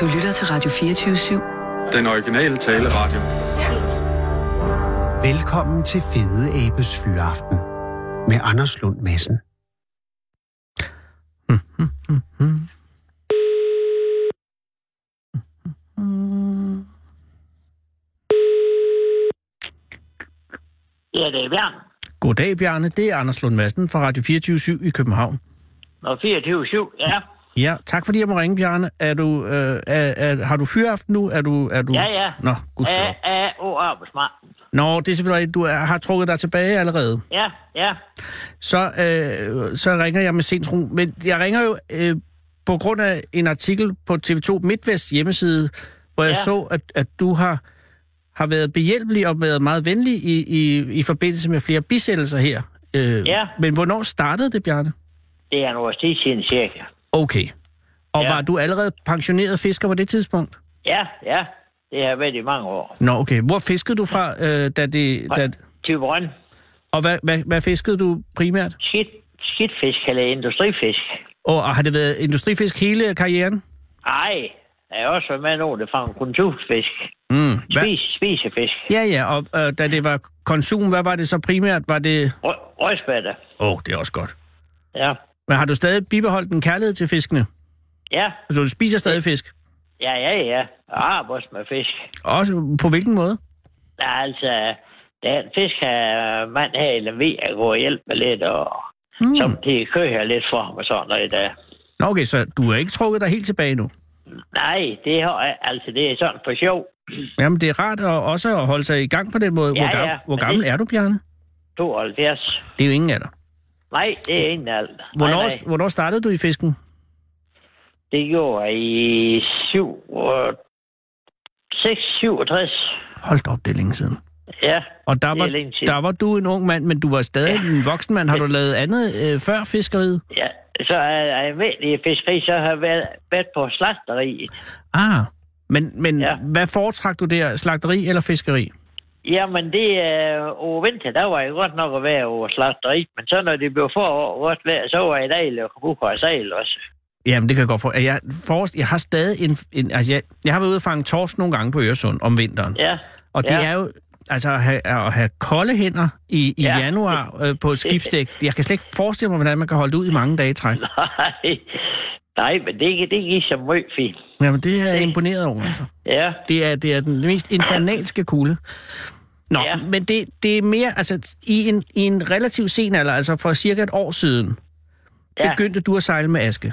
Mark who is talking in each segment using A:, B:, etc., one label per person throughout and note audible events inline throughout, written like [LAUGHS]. A: Du lytter til Radio 24 /7.
B: Den originale taleradio.
C: Velkommen til Fede Abes Fyraften med Anders Lund Madsen.
D: Ja, det er Bjørn.
E: Goddag, Bjarne. Det er Anders Lund Madsen fra Radio 24 i København.
D: Nå, 24-7, ja.
E: Ja, tak fordi jeg må ringe, Bjarne. Er du, øh, er, er, har du fyraften nu? Er du, er du...
D: Ja, ja.
E: Nå, gudskelov.
D: A, A, O, arbejdsmarked.
E: Nå, det er selvfølgelig rigtigt. Du er, har trukket dig tilbage allerede.
D: Ja, ja.
E: Så, øh, så ringer jeg med sent ro. Men jeg ringer jo øh, på grund af en artikel på TV2 MidtVest hjemmeside, hvor jeg
D: Ja.
E: så, at, at du har, har været behjælpelig og været meget venlig i, i, i forbindelse med flere bisættelser her. Øh,
D: Ja.
E: Men hvornår startede det, Bjarne?
D: Det er en års tid siden cirka.
E: Okay. Og
D: Ja.
E: ja. var du allerede pensioneret fisker på det tidspunkt?
D: Ja, ja. Det har været i mange år.
E: Nå, okay. Hvor fiskede du fra, øh, da det... Da,
D: Typerøn.
E: og hvad, hvad, hvad fiskede du primært?
D: Skidt, skidtfisk eller industrifisk.
E: Og, og har det været industrifisk hele karrieren?
D: Ej, jeg er også med nogen, der fanger konsumfisk.
E: Mm. Hvad?
D: Spis, spisefisk.
E: Ja, ja. Og øh, da det var konsum, hvad var det så primært? Var det...
D: Rø- Rødspætter.
E: Åh, oh, det er også godt.
D: Ja.
E: Men har du stadig bibeholdt en kærlighed til fiskene?
D: Ja,
E: Altså, du spiser stadig fisk?
D: ja, ja, ja. Jeg arbejder med fisk.
E: Også på hvilken måde?
D: Der er altså... Der er en fisk, her, mand her i Lemvi, jeg går og hjælper lidt, og mm. samtidig kører jeg lidt for ham og sådan noget der.
E: Nå, okay, så du er ikke trukket dig helt tilbage nu.
D: Nej, det har jeg, altså det er sådan for sjov.
E: Jamen, det er rart at, også at holde sig i gang på den måde.
D: Ja,
E: hvor, gam-
D: ja,
E: hvor
D: men
E: gammel
D: det-
E: er du, Bjarne?
D: 72.
E: Det er jo ingen af dig.
D: Nej, det er ingen alt.
E: Hvornår,
D: Nej, nej.
E: hvornår startede du i fisken?
D: Det gjorde jeg i øh, 7, og 6, 67.
E: Hold da op, det er længe siden.
D: Ja,
E: Og der
D: Det er
E: var,
D: længe siden.
E: der var du en ung mand, men du var stadig ja. en voksen mand. Har du lavet andet øh, før fiskeriet?
D: ja. Så er jeg med i fiskeri, så har jeg været, været på slagteriet.
E: Ah, men, men
D: Ja.
E: ja. hvad foretrak du der? Slagteri eller fiskeri?
D: Jamen, det er øh, over vinter, der var jeg godt nok at være over slagteriet, men så når det blev forår, godt vejr, så var jeg dejlig at komme ud og sejle også.
E: Jamen, det kan jeg godt for. Jeg, forrest, jeg har stadig en... en altså, jeg, jeg har været ude og fange torsk nogle gange på Øresund om vinteren.
D: Ja, [LAUGHS]
E: Og det
D: ja.
E: er jo... Altså at have, at have kolde hænder i, i
D: Ja.
E: ja. januar øh, på et
D: [LAUGHS]
E: skibsdæk. Jeg kan slet ikke forestille mig, hvordan man kan holde det ud i mange dage i træk.
D: nej, nej, men det, er- det er ikke så meget fint.
E: Jamen, det er jeg imponeret over, altså.
D: Ja,
E: Det er, det er den mest infernalske kulde. Nå,
D: Ja.
E: ja. men det, det er mere, altså i en, i en relativt sen alder, altså for cirka et år siden,
D: ja,
E: ja. begyndte du at sejle med aske.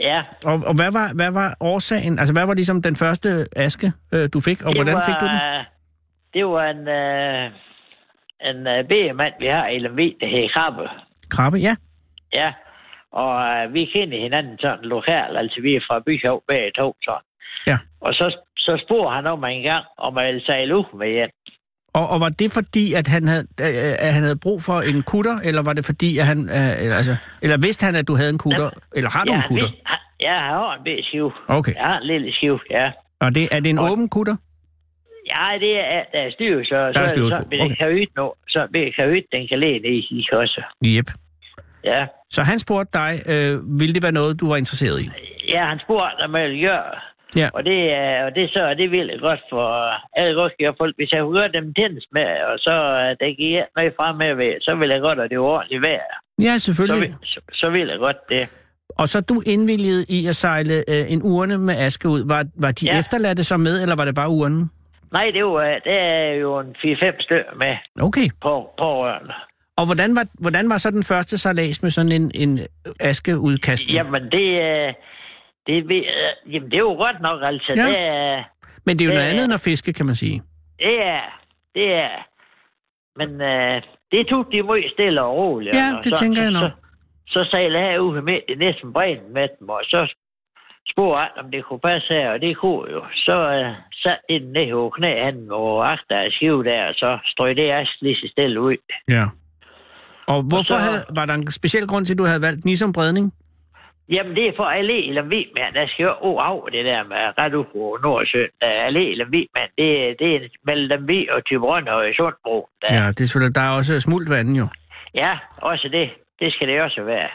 D: ja.
E: Og, og hvad, var, hvad var årsagen, altså hvad var ligesom den første aske, øh, du fik, og
D: Det
E: hvordan
D: var, øh,
E: fik du den?
D: Det var en, øh, en øh, B-mand, vi har i LMV, der hedder Krabbe.
E: Krabbe, ja.
D: Ja, og øh, vi kender hinanden sådan lokalt, altså vi er fra Byhav begge to sådan.
E: Ja.
D: Og så, så spurgte han om en gang, om jeg ville sejle ud med hjem.
E: Og, og var det fordi, at han, havde, øh, at han havde brug for en kutter, eller var det fordi, at han, øh, eller, altså, eller vidste han, at du havde en kutter, eller har du
D: ja,
E: en
D: han
E: kutter?
D: vidste- han- Ja, jeg har en lille skiv.
E: Okay,
D: Jeg har en lille skiv, ja.
E: og det, er det en
D: Og-
E: åben kutter?
D: Ja, det er, der er styr, så,
E: Der er styr på,
D: så, så vi
E: okay.
D: kan yde nu. Så vi kan yde, den kan læne i, i også.
E: Jep.
D: Ja.
E: Så han spurgte dig, øh, ville det være noget, du var interesseret i?
D: ja, han spurgte, om jeg ville gøre
E: Ja.
D: Og det, er- og det så er det virkelig godt for alle godt folk. Hvis jeg kunne gøre dem tændes med, og så øh, der gik jeg noget frem med, ved, så ville jeg godt, at det var ordentligt vejr.
E: Ja,
D: Så,
E: selvfølgelig.
D: vil- så, så ville jeg godt det.
E: Og så er du indvilligede i at sejle øh, en urne med aske ud. Var, var de
D: Ja.
E: ja. efterladte så med, eller var det bare urnen?
D: Nej, det, var, det er jo en 4-5 stykker med
E: Okay.
D: på, på rørene.
E: Og hvordan var, hvordan var så den første sejlads med sådan en, en askeudkast?
D: Jamen, det, øh, det, ved jeg- øh, jamen, det er jo godt nok, altså.
E: Ja.
D: Det, er-
E: Men det er jo noget
D: øh,
E: andet end at fiske, kan man sige.
D: det er, det er. Men øh, det tog de meget stille og roligt.
E: Ja,
D: og
E: det
D: så,
E: tænker
D: så,
E: jeg nok.
D: Så, så sejlede jeg ud med i næsten bredden med dem, og så spurgte jeg, om det kunne passe her, og det kunne jo. Så øh, satte de den ned over knæhanden og agter af skive der, og så strøg det ask lige så stille ud.
E: Ja. Og hvorfor og
D: så-
E: så... havde, var der en speciel grund til, at du havde valgt Nissan Bredning?
D: Jamen, det er for allé eller vimand. Der skal jo over over det der med ret ud på Nordsøen. Der er allé eller vimand. Det, det er mellem Lemvig og Tybrøn og Sundbro. Der.
E: Ja, det er selvfølgelig, der er også smult vand jo.
D: ja, også det. Det skal det også være.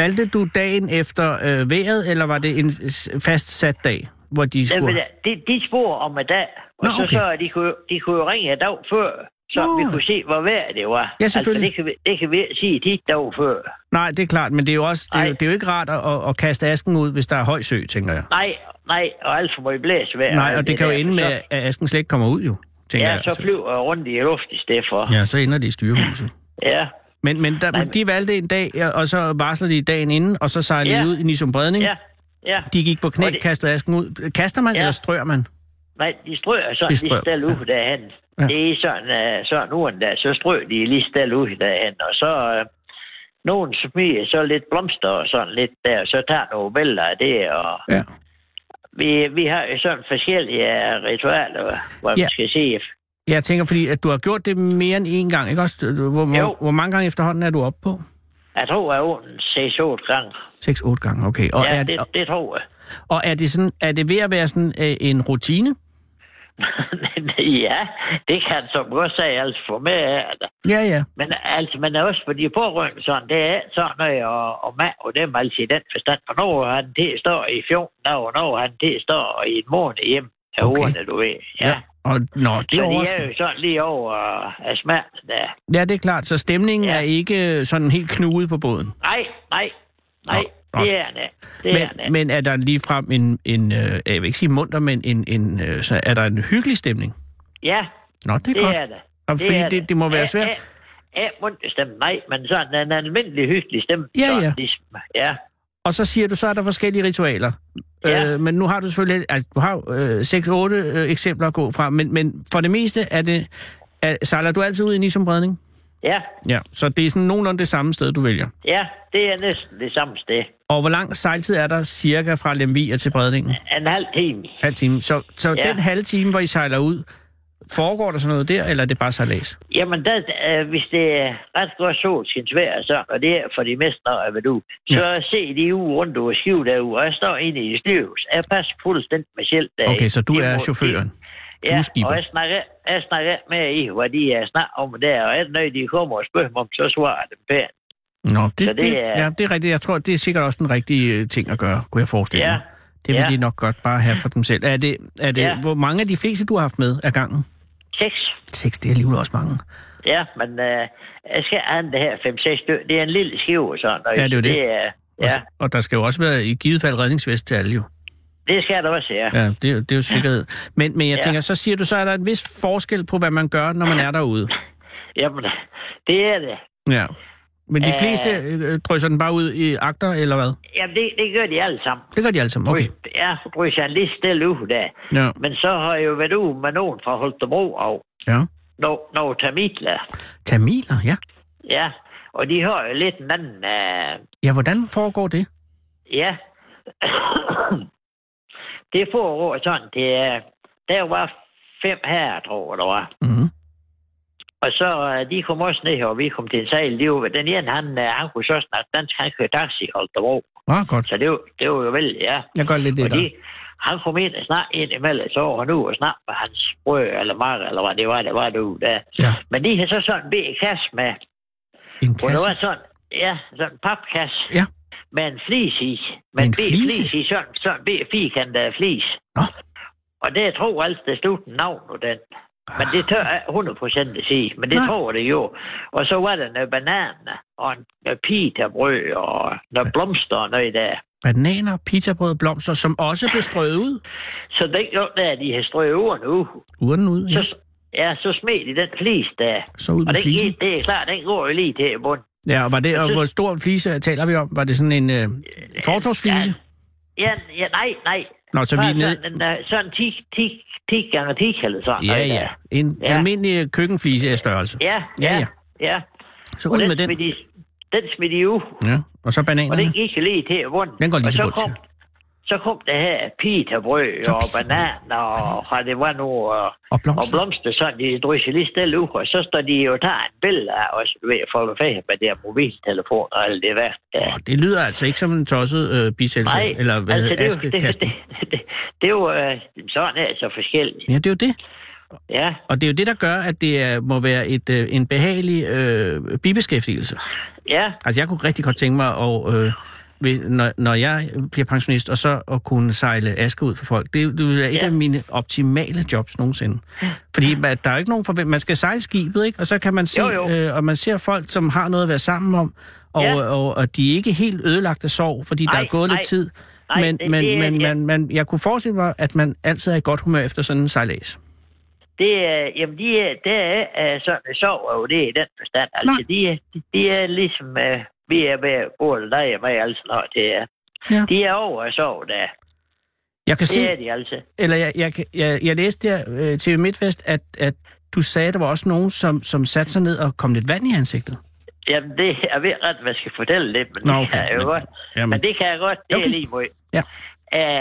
E: Valgte du dagen efter øh, vejret, eller var det en øh, fastsat dag? hvor de skulle...
D: Jamen, det, de spor om en dag, og
E: Nå,
D: så,
E: okay.
D: så de, kunne, de kunne jo ringe en dag før, så
E: Nå.
D: vi kunne se, hvor vejr det var.
E: Ja, selvfølgelig.
D: Altså, det, kan vi, det kan vi ikke sige de dage før.
E: Nej, det er klart, men det er jo, også, det er jo,
D: Nej.
E: det er jo ikke rart at, at, at kaste asken ud, hvis der er høj sø, tænker jeg.
D: Nej, nej, og alt for meget blæs vejr.
E: Nej, og det kan jo
D: der.
E: ende med, altså.
D: Så,
E: at asken slet ikke kommer ud, jo, tænker
D: ja,
E: jeg.
D: så flyver jeg rundt i luften i stedet for.
E: Ja, så ender det i styrehuset.
D: Ja,
E: Men, men, der, men de valgte en dag, og- og så varsler de dagen inden, og så sejlede
D: Ja.
E: de ud i Nisum Bredning.
D: ja, ja.
E: De gik på knæ,
D: Og det-
E: kastede asken ud. Kaster man,
D: Ja.
E: eller strør man?
D: Nej, de strøer sådan
E: De
D: de
E: strøer,
D: lige stille ud derhen.
E: Ja.
D: Det er sådan, uh, sådan uren der, så strøer de lige stille ud derhen, og så... Uh, nogen smiger så lidt blomster og sådan lidt der, så tager nogle billeder af det, og
E: Ja.
D: Vi, vi har jo sådan forskellige øh, ritualer, hvor man
E: Ja.
D: skal sige.
E: Jeg tænker, fordi at du har gjort det mere end én gang, ikke også? Du- Hvor, hvor,
D: Jo.
E: hvor mange gange efterhånden er du oppe på?
D: Jeg tror, at ånden ses otte gange.
E: 6-8 gange, okay. Og,
D: Ja,
E: er,
D: det,
E: og,
D: det tror jeg. [LAUGHS]
E: og er, det sådan, er det ved at være sådan øh, en rutine?
D: ja, det kan som godt sige, altså for mig er det.
E: Ja, ja.
D: Men altså, men også for de pårørende sådan, det er ikke sådan noget, og, og mand og dem altså i den forstand. Hvornår har han til står i 14 dage, og når han til står i en måned hjem af
E: Okay.
D: okay. ordene, du ved. Ja. ja.
E: Og, nå, det
D: Så
E: er
D: de
E: også...
D: er jo sådan lige over øh, af smerten der.
E: Ja, det er klart. Så stemningen
D: Ja.
E: er ikke sådan helt knudet på båden.
D: Nej, nej, nej,
E: Nå, nå.
D: det er det. Det er det.
E: Men, men er der ligefrem en, en øh, jeg vil ikke sige munter, men en, en, øh, så er der en hyggelig stemning?
D: Ja,
E: Nå, det er
D: det
E: godt.
D: er det.
E: Og fordi
D: er
E: det, det må være
D: Ja,
E: svært.
D: Ja, ja, mundt stemme, nej, men sådan en almindelig hyggelig stemme.
E: Ja,
D: sådan,
E: ja.
D: Ligesom, ja.
E: Og så siger du, så er der forskellige ritualer.
D: Ja.
E: Øh, men nu har du selvfølgelig, altså, du har jo, øh, 6-8 øh, eksempler at gå fra, men, men for det meste er det, er, sejler du altid ud i Nisum Bredning?
D: ja,
E: Ja, så det er sådan nogenlunde det samme sted, du vælger.
D: ja, det er næsten det samme sted.
E: Og hvor lang sejltid er der cirka fra Lemvig og til Bredningen?
D: En halv time.
E: Halv time. Så, så
D: Ja.
E: den halve time, hvor I sejler ud, foregår der sådan noget der, eller er det bare sejlads?
D: Jamen, der, øh, hvis det er ret godt solskinsvejr, så, og det er for de meste, når jeg vil ud, så se de uge rundt over skiv derude, og jeg står inde i slivs. Jeg passer fuldstændig mig selv derinde.
E: Okay, så du
D: Det
E: er
D: må-
E: chaufføren.
D: Ja,
E: skipper.
D: og jeg snakker, jeg snakker ikke med i, hvad de er snak om der, og alt når de kommer og spørger mig om, så svarer jeg dem pænt.
E: Nå, det,
D: Så
E: det,
D: det
E: det,
D: er-
E: ja, det er rigtigt. Jeg tror, det er sikkert også den rigtige øh, ting at gøre, kunne jeg forestille
D: Ja.
E: mig. Det vil
D: Ja.
E: de nok godt bare have for dem selv. Er det, er det,
D: Ja.
E: Hvor mange af de fleste, du har haft med af gangen?
D: Seks.
E: Seks, det er alligevel også mange.
D: Ja, men øh, jeg skal have det her 5-6 stykker. Det er en lille skive, sådan. Og
E: Ja, det er jo det.
D: det er,
E: Og,
D: ja,
E: s- og der skal jo også være i givet fald redningsvest til alle jo.
D: det skal der også, ja.
E: Ja, det, er jo- det er jo sikkerhed. Men, men jeg
D: Ja.
E: tænker, så siger du, så er der en vis forskel på, hvad man gør, når man er derude.
D: Jamen, det er det.
E: Ja. Men de
D: Øh.
E: fleste øh, drysser den bare ud i akter, eller hvad?
D: Jamen, det, det gør de alle sammen.
E: Det gør de alle sammen, okay.
D: Ja, drysser lige stille ud der.
E: Ja.
D: Men så har jeg jo været ude med nogen fra Holstebro og
E: ja.
D: nogle no, tamidler.
E: Tamiler, ja.
D: Ja, og de har jo lidt en anden... Øh,
E: Ja, hvordan foregår det?
D: ja. [COUGHS] det foregår sådan, det er... Der var fem herrer, tror jeg, der var.
E: Mm-hmm.
D: Og så øh, de kom også ned her, og vi kom til en sejl. De var, den ene, han, øh, han kunne så snakke dansk, han kørte taxi i Holstebro.
E: Ah, godt.
D: Så det var, det var jo vel, ja.
E: Jeg gør lidt det
D: og
E: der.
D: de, han kom ind og snakkede ind imellem, så var han ude og snakke med hans brød, eller mar, eller hvad det var, det var du der.
E: Ja,
D: Men de havde så sådan en big kasse med,
E: en
D: hvor der
E: kasse.
D: var sådan, ja, sådan en papkasse.
E: Ja.
D: Med en flis i.
E: Med
D: Med
E: en
D: en big
E: flise?
D: flis i, sådan, sådan en big firkantet af flis.
E: Nå.
D: Og det jeg tror altså, der stod den navn på den. Men det tør jeg ikke 100% at sige, men det
E: Nej.
D: Nej. tror jeg det jo. Og så var der noget bananer, og en- noget pitabrød, og noget blomster og noget der.
E: Bananer, pizzabrød og blomster, som også blev strøget ud.
D: Så den gang der, de har strøget over nu,
E: Urnen ud, ja.
D: så, ja, så smed de den flis der.
E: Så ud
D: Og
E: med
D: den,
E: flisen.
D: gik- det er klart, den går jo lige til bunden.
E: Ja, og, var det, og
D: så-
E: hvor stor en flise taler vi om? Var det sådan en øh, fortorvsflise?
D: Ja, ja, ja, nej, nej.
E: Nå, så vi er
D: Bare
E: nede...
D: sådan, en, øh, sådan 10, 10, 10 gange 10 eller sådan
E: Ja,
D: noget
E: ja.
D: der.
E: En
D: Ja.
E: almindelig køkkenflise af størrelse.
D: Ja,
E: Ja,
D: ja,
E: ja.
D: ja. ja.
E: Så
D: Og
E: ud
D: den,
E: med den.
D: Smed de, den smed de ud.
E: Ja, og så
D: Og den
E: bananerne.
D: gik jo lige til bunden.
E: Den går lige
D: og
E: til
D: så
E: bunds,
D: kom, så kom det her pitabrød
E: Så
D: og
E: pitabrød.
D: bananer og hvad det var nu. Og,
E: Og
D: og
E: blomster.
D: blomster, så de drysser lige stille ud. Og så står de jo og tager en billede af os ved at få fag med der mobiltelefon og alt det værste.
E: Åh, det lyder altså ikke som en tosset øh, bisættelse,
D: Nej,
E: eller hvad altså,
D: [LAUGHS] det, er jo- det,
E: askekasten.
D: det, det, det, det, er jo øh, sådan er det så forskelligt.
E: Ja, det er jo det.
D: Ja,
E: Og det er jo det, der gør, at det er, må være et, øh, en behagelig øh, bibeskæftigelse.
D: ja,
E: Altså, jeg kunne rigtig godt tænke mig at øh, ved, når, når jeg bliver pensionist, og så at kunne sejle aske ud for folk. Det, det er et ja.
D: Ja.
E: af mine optimale jobs nogensinde. Fordi man, der er jo ikke nogen forvent... Man skal sejle skibet, ikke? Og så kan man se,
D: Jo, jo.
E: Øh, og man ser folk, som har noget at være sammen om, og,
D: Ja.
E: ja. og, og, og de er ikke helt ødelagt af sorg, fordi der
D: Nej,
E: er gået
D: nej.
E: lidt tid.
D: Nej,
E: men,
D: det-
E: men,
D: det er-
E: men
D: ja.
E: man, man, jeg kunne forestille mig, at man altid er i godt humør efter sådan en sejlads.
D: Det er, jamen de er, det er, er øh, sådan en sorg over det i den forstand. Altså,
E: Nej.
D: de er, de, de er ligesom, øh, vi er med både dig og mig, altså, når det er.
E: Ja.
D: De er over at sove der.
E: Jeg kan
D: Det er
E: se,
D: de altså.
E: eller jeg, jeg, kan- jeg, jeg læste der øh, til MidtVest, at, at du sagde, at der var også nogen, som, som satte sig ned og kom lidt vand i ansigtet.
D: Jamen, det er ved ret, hvad jeg skal fortælle lidt, men,
E: Nå,
D: Nå, okay.
E: okay.
D: det kan jeg
E: Men-
D: jo godt.
E: Jamen,
D: Men det kan jeg godt, det okay.
E: Okay.
D: er lige mod.
E: Ja.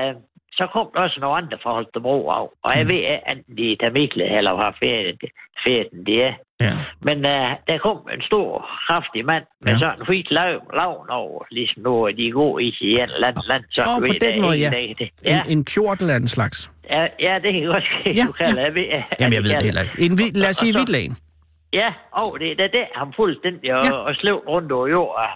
D: Øh, så kom der også nogle andre fra Holstebro af, og
E: Mm.
D: jeg ved, at enten de er Tamikle eller har ferien, ferien de er.
E: ja.
D: Men øh, der kom en stor, kraftig mand med
E: Ja.
D: ja. sådan en hvidt lav, lavn over, ligesom nu er de går i i en eller anden land. Så
E: Åh, på den måde, ja.
D: ja.
E: En, en kjort eller anden slags.
D: ja. Ja, det kan jeg godt ske,
E: Ja,
D: du kalder jeg ved, at-
E: Jamen, jeg
D: at
E: ved det
D: de kalder-
E: heller ikke. En, hvid- lad os sige
D: Og så-
E: hvidlagen.
D: Ja, og det er da der, han fuldstændig og,
E: Ja.
D: ja. og sløv rundt over jorden.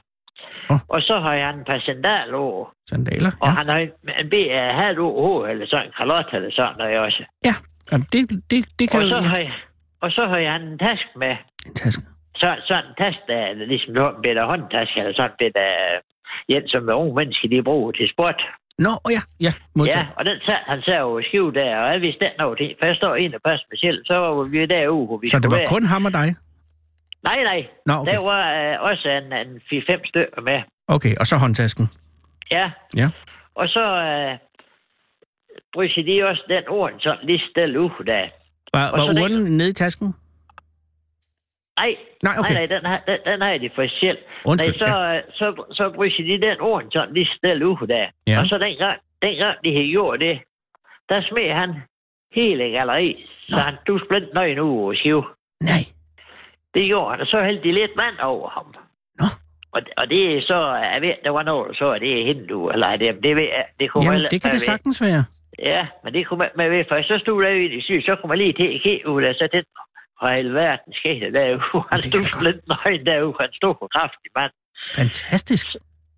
E: Åh.
D: Og så har jeg en par sandaler over,
E: Sandaler.
D: og ja. han har en, en BH over eller sådan en kalot eller sådan noget også.
E: Ja, Jamen, det, det, det kan
D: Og
E: jo...
D: så
E: Ja.
D: har jeg, og så har jeg en taske med,
E: En taske.
D: så, sådan en taske, der er ligesom en bitte håndtaske, eller sådan en bitte, øh, en som unge mennesker, de bruger til sport.
E: Nå, oh ja, ja,
D: Ja,
E: modtaget.
D: og den sat han sad over skive der, og jeg vidste den over det. For jeg står ind og passer mig selv, så var vi derude, hvor vi
E: så det
D: skulle
E: var
D: være.
E: kun ham og dig?
D: Nej, nej,
E: Nå, okay.
D: der var øh, også en, en 4-5 stykker med.
E: Okay, og så håndtasken.
D: Ja.
E: Ja.
D: Og så øh, brysser de også den orden sådan lige stille ud der.
E: Var,
D: Og så
E: var
D: den-
E: urnen nede i tasken?
D: Nej,
E: Nej, Ah, okay.
D: nej, nej, den har, den, den har de for selv.
E: Undskyld,
D: nej, så, ja. så, så brysser de den orden sådan lige stille ud der.
E: Ja.
D: Og så dengang, dengang de havde gjort det, der smed han hele galleri, så
E: Nå.
D: han du splint nøgen ud over skive.
E: Nej.
D: Det gjorde han, og så hældte de lidt vand over ham.
E: Nå.
D: Og, og det er så, jeg ved, der var noget, så er det hindu, eller det, det ved jeg, det kunne
E: Jamen,
D: vel-
E: det kan det
D: jeg ved-
E: sagtens være.
D: Ja, men det kunne man, man ved, for så stod der jo i det syge, så kunne man lige til at kigge ud, og så den og alverden skete derude. [LAUGHS] Han
E: det kan
D: stod
E: jeg godt.
D: lidt nøgen derude, han stod på kraftig mand.
E: Fantastisk.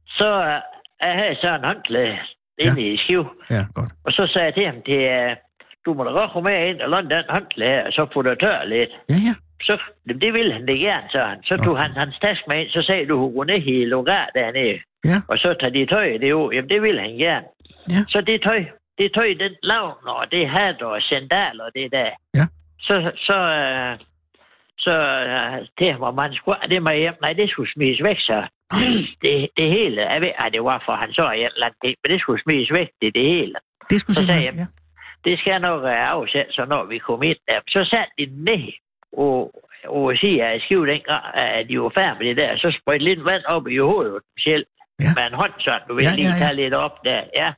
D: Så øh, jeg havde så en håndklæde inde ja. i skiv,
E: Ja, godt.
D: og så sagde jeg til ham, det er, du må da godt komme med ind og låne den håndklæde her, og så få det tør lidt.
E: Ja, ja.
D: Så, jamen, det ville han det gerne, så han. Så
E: Nå.
D: tog han hans taske med ind, så sagde du, hun går ned i lugar dernede.
E: Ja.
D: Og så tager de tøj det ud. Jamen, det ville han gerne.
E: Ja.
D: Så det tøj, det tøj, den lavn, og det hat og sandal og det der.
E: Ja.
D: Så, så, øh, så øh, til ham, om han skulle have ah, det med hjem. Nej, det skulle smides væk, så.
E: Ah.
D: det, det hele, jeg ved, at det var for, han så en eller anden ting, men det skulle smides væk, det, det hele
E: Det skulle
D: Så sagde
E: simpelthen...
D: jeg-
E: Ja.
D: det skal jeg nok øh, afsætte, så når vi kom ind der. Så satte de den ned og, og sige, at skiv den grad, at de var færdige med det der. Så sprøjte lidt vand op i hovedet selv
E: Ja.
D: ja. med en hånd, så du vil
E: Ja,
D: ja, lige
E: ja, ja.
D: tage lidt op der. Ja.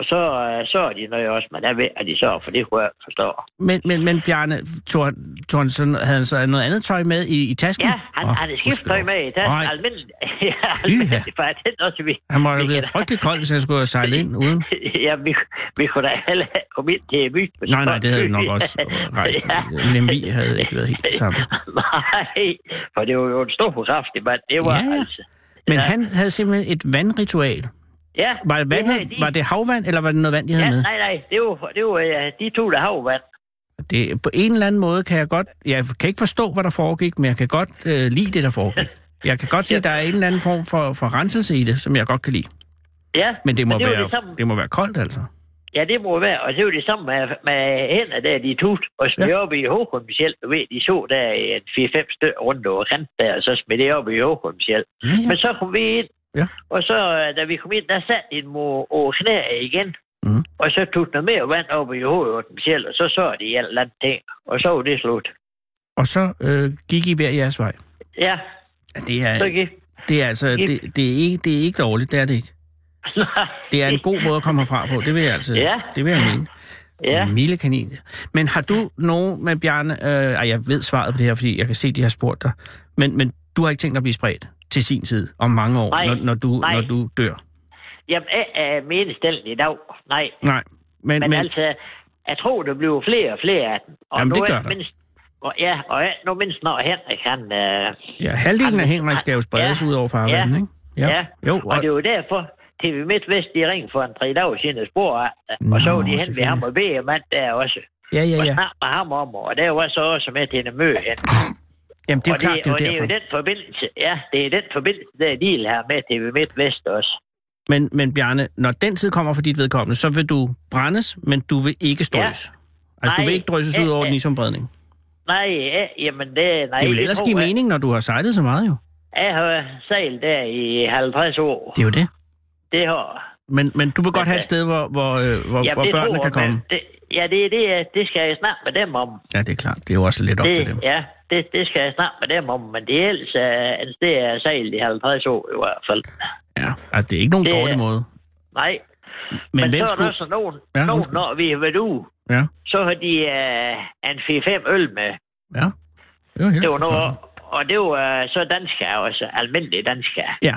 D: Og så, øh, så er de nøje også, men der ved, at de så, for det kunne jeg ikke forstå.
E: Men, men, men Bjarne, tog, han- tog han sådan, havde han så noget andet tøj med i, i tasken?
D: Ja, han,
E: Åh,
D: oh, han er skifttøj
E: gudskelov.
D: med i den
E: Nej.
D: almindelige. [LAUGHS] Ja, almindeligt, for det er også, vi,
E: Han må jo
D: Vi
E: have
D: kan
E: været
D: da-
E: frygtelig kold, hvis han skulle have sejlet ind uden.
D: ja, vi, vi kunne da heller ikke komme ind til byen.
E: Nej, nej, det havde vi nok
D: [LAUGHS]
E: også øh, rejst. Lemvi havde ikke været helt det samme.
D: Nej, for det var jo en stor kraftig mand. Det var
E: Ja, ja.
D: ja. altså...
E: Men
D: Ja.
E: han havde simpelthen et vandritual.
D: Ja,
E: Var det,
D: havde
E: vandet,
D: de.
E: var det havvand, eller var det noget vand, de havde
D: Ja,
E: med?
D: nej, nej, det var, det var ja, de to, der havvand.
E: Det, på en eller anden måde kan jeg godt... Jeg kan ikke forstå, hvad der foregik, men jeg kan godt øh, lide det, der foregik. Jeg kan godt se, at der er en eller anden form for, for renselse i det, som jeg godt kan lide.
D: Ja,
E: Men det må,
D: det var ligesom-
E: være,
D: Det samme,
E: det må være koldt, altså.
D: ja, det må være, og det var det samme med, med hænder der, de tog og smed ja. op i Håkon selv. Du ved, de så der en 4-5 stykker rundt over kant der, og så smed det op i Håkon selv.
E: Ja, ja.
D: Men så kom vi ind,
E: Ja.
D: og så øh, da vi kom ind, der satte en mor over knæ igen.
E: Mhm.
D: Og så tog den mere vand op i hovedet på dem selv, og så så de en eller anden ting. Og så var det slut.
E: Og så øh, gik I hver jeres vej.
D: Ja,
E: Ja, Det er,
D: så gik.
E: det er altså... Det, det, er ikke, det er ikke dårligt, det er det ikke.
D: Nej.
E: Det er en god måde at komme herfra på, det vil jeg altså...
D: Ja.
E: Det vil jeg mene.
D: [LAUGHS] Ja.
E: En milde kanin. Men har du nogen med Bjarne... Øh, ej, jeg ved svaret på det her, fordi jeg kan se, de har spurgt dig. Men, men du har ikke tænkt dig at blive spredt til sin tid om mange år,
D: Nej.
E: når, når, du,
D: Nej.
E: når du dør?
D: Jamen, jeg er meningsstillen i dag. Nej,
E: Nej. Men,
D: men, men altså, jeg tror, der bliver flere og flere af dem. Og
E: Jamen, det
D: nu er
E: gør
D: ikke
E: der.
D: mindst, og, ja, og jeg- nu mindst når Henrik, han... Øh,
E: ja, halvdelen af Henrik skal jo spredes
D: Ja.
E: ud over farvandet,
D: Ja.
E: ikke? Ja. Jo,
D: og, og det var derfor, TV MidtVest, de ringede for en tre dage siden og spurgte efter. Og så
E: Nå,
D: var de hen ved
E: selvfølgelig.
D: ham og ved mand der også.
E: ja, ja,
D: Og
E: ja.
D: snakkede med ham om, og der var så også med til en møde. hen.
E: Jamen, det er jo
D: og
E: klart, det er
D: og det
E: jo
D: er jo
E: derfor.
D: den forbindelse, ja, det er den forbindelse, der er deal her med TV MidtVest også.
E: Men, men Bjarne, når den tid kommer for dit vedkommende, så vil du brændes, men du vil ikke strøs. Altså, du
D: Nej.
E: vil ikke drysses ud
D: Ja,
E: over
D: ja.
E: den isombredning.
D: Nej, ja, jamen det... Nej,
E: Det vil ellers
D: tror
E: give
D: jeg.
E: mening, når du har sejlet så meget, jo.
D: Jeg har sejlet der i 50 år.
E: Det er jo det.
D: Det har
E: Men, men du vil godt
D: Ja,
E: have
D: ja.
E: et sted, hvor, hvor, øh, hvor, hvor
D: det
E: børnene
D: tror
E: kan
D: jeg,
E: komme.
D: men Det, ja, det er det, jeg- det skal jeg snakke med dem om.
E: Ja, det er klart. Det er jo også lidt op til dem.
D: Det, ja, det, det skal jeg snakke med dem om, men det er ellers uh, det er sejlet i 50 år i hvert fald.
E: Ja, altså, det er ikke nogen
D: Det-
E: dårlig måde.
D: Nej,
E: Men, men
D: så
E: hvem
D: er der
E: skulle...
D: også nogen,
E: Ja,
D: nogen
E: undskyld.
D: når vi har været ude,
E: Ja,
D: så har de uh, en 4-5 øl med.
E: ja. Det var, helt
D: Det var
E: fortræffeligt.
D: noget, og det var øh, så danskere også, almindelige danskere,
E: Ja.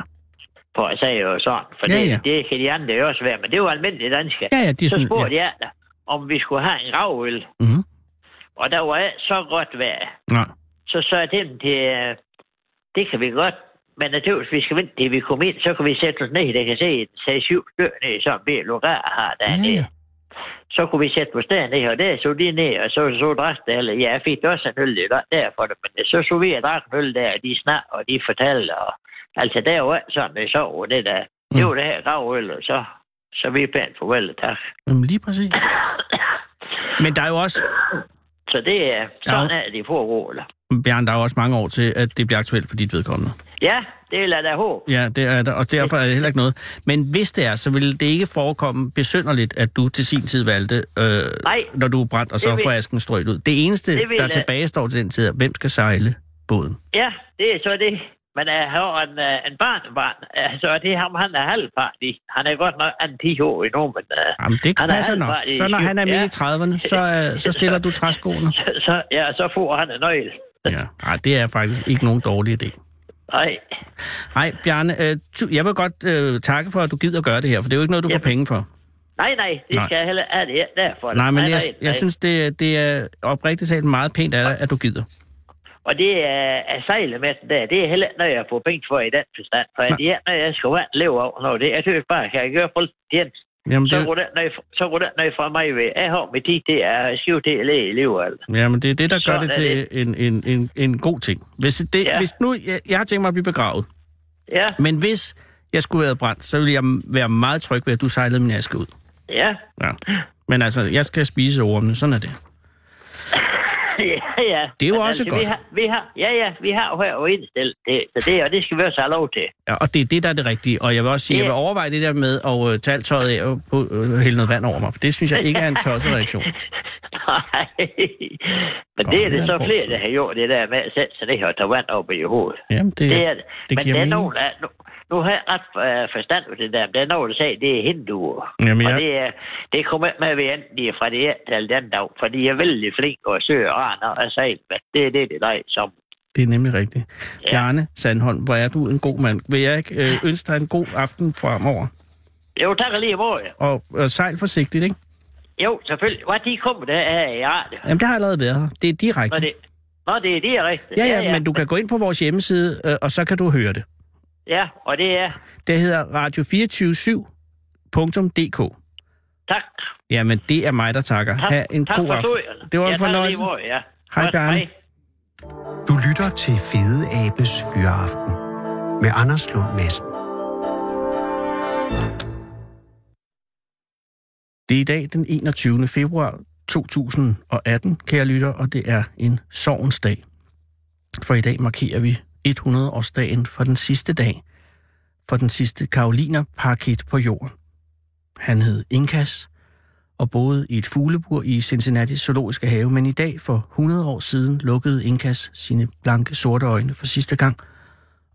D: for at sige jo sådan, for
E: Ja,
D: ja, det,
E: ja.
D: ja. det kan de andre jo også være, men det var almindelige danskere.
E: Ja, ja, de er
D: så
E: sådan-
D: spurgte ja. jeg, om vi skulle have en gravøl,
E: Mhm.
D: og der var ikke så godt vejr.
E: Nej.
D: Så sagde jeg til dem, det, øh, det kan vi godt, men naturligvis, vi skal vente til vi kommer ind, så kan vi sætte os ned, der kan se et 6-7 stykker ned, så en bil lokal har der
E: Ja, ja.
D: så kunne vi sætte vores dernede, og der så de ned, og så så drak det, eller ja, jeg fik også en øl der, der for det, men så så vi og drak en øl der, og de snak, og de fortalte, og altså der var ikke sådan, det så over det der,
E: Mm.
D: det var det her gravøl, og så, så vi er pænt farvel, og tak.
E: Jamen, lige
D: [COUGHS]
E: præcis. Men der er jo også,
D: Så det er sådan, ja. at de foregår, eller?
E: Bjørn, der er jo også mange år til, at det bliver aktuelt for dit vedkommende.
D: Ja, det er da håb.
E: Ja, det er der, og derfor er det heller ikke noget. Men hvis det er, så vil det ikke forekomme besynderligt, at du til sin tid valgte, øh,
D: Nej.
E: når du er brændt, og så
D: vil-
E: får asken strøget ud. Det eneste,
D: Det vil øh,
E: der
D: jeg-
E: tilbage står til den tid, er, hvem skal sejle båden?
D: Ja, det er så det. Men jeg har en, øh, en barnbarn, så det er ham, han er halvpart i. Han er godt nok en 10 år endnu, men øh,
E: Jamen, det
D: Han er
E: passer nok.
D: halvvejs i
E: Så når han er midt
D: Ja.
E: i 30'erne, så,
D: [LAUGHS]
E: øh, så stiller du træskoene.
D: så, så, ja, så får han en nøgle.
E: Ja, nej, det er faktisk ikke nogen dårlig idé.
D: Nej,
E: Nej, Bjarne, øh, tu- jeg vil godt øh, takke for, at du gider gøre det her, for det er jo ikke noget, du får penge
D: Jamen.
E: for.
D: Nej, nej, det
E: Nej.
D: nej. skal jeg heller er det ikke derfor.
E: Nej, men jeg, jeg synes, det, det er oprigtigt talt meget pænt af dig, at du gider.
D: Og det er, er sejlet med den der, det er heller ikke noget, jeg får penge for i den forstand. For det er ikke noget, jeg skal være leve af. Når det, jeg synes bare, kan jeg gøre på den,
E: Jamen,
D: så
E: det,
D: går den noget, så går den noget fra mig ved. Jeg har mit tid, det er syv til at læge i livet. altså.
E: jamen, det er det, der gør
D: Sådan
E: det
D: er
E: til en, en, en, en god ting. Hvis, det, ja.
D: Ja.
E: hvis nu, jeg, jeg har tænkt mig at blive begravet,
D: Ja,
E: men hvis jeg skulle være brændt, så ville jeg m- være meget tryg ved, at du sejlede min aske ud.
D: ja, [LAUGHS]
E: Ja. Men altså, jeg skal spise ormene, sådan er det.
D: ja, ja.
E: Det er jo
D: Men
E: også
D: Vi
E: godt.
D: har, vi har, ja, ja, vi har jo her og indstillet det, så det, og det skal vi også have lov til. [LAUGHS]
E: Ja, og det er det, der er det rigtige. Og jeg vil også sige, at jeg vil
D: Ja.
E: overveje det der med at øh, tage alt tøjet af og på, øh, hælde noget vand over mig, for det synes jeg ikke er en tosset [LAUGHS] reaktion.
D: Nej, men
E: Nå, altså. det
D: det er
E: er
D: det så
E: en forside.
D: flere, der har gjort det der med at sætte sig ned og tage vand op i hovedet.
E: Jamen, det,
D: Det er det.
E: det
D: det men
E: giver
D: der er
E: mening.
D: nogen, der, nu, nu har jeg ret øh, forstand på det der, men der er nogen, der siger, at det er hinduer.
E: Jamen,
D: og
E: jeg-
D: det, er, det kommer ikke med, at vi enten de er fra det ene til det andet dag, for de er vældig flinke og søge og og og sejl, men det er det, det drejer sig om.
E: Det er nemlig rigtigt. Ja. Bjarne Sandholm, hvor er du en god mand. Vil jeg ikke øh, ønske dig en god aften fremover?
D: Jo, tak og lige måde.
E: Og, og sejl forsigtigt, ikke?
D: Jo, selvfølgelig. Hvad de kommer der er i radio.
E: Jamen, det har allerede været her. Det er
D: Nå,
E: direkte.
D: det, nå, det er det rigtigt.
E: Ja, ja, men du kan gå ind på vores hjemmeside, øh, og så kan du høre det.
D: Ja, og det er...
E: Det hedder radio247.dk.
D: Tak.
E: Jamen, det er mig, der takker.
D: tak
E: Ha' en
D: tak
E: god
D: for
E: aften.
D: turen.
E: Det var
D: ja,
E: en
D: tak og lige
E: fornøjelse.
D: måde, ja.
E: Hej,
D: Godt,
E: Bjarne.
C: Du lytter til Fede Abes Fyraften med Anders Lund Madsen.
E: Det er i dag den 21. februar 2018, kære lytter, og det er en sorgens dag. For i dag markerer vi 100-årsdagen for den sidste dag, for den sidste karolinerparket på jorden. Han hed Inkas og boede i et fuglebur i Cincinnati Zoologiske Have, men i dag for 100 år siden lukkede Inkas sine blanke sorte øjne for sidste gang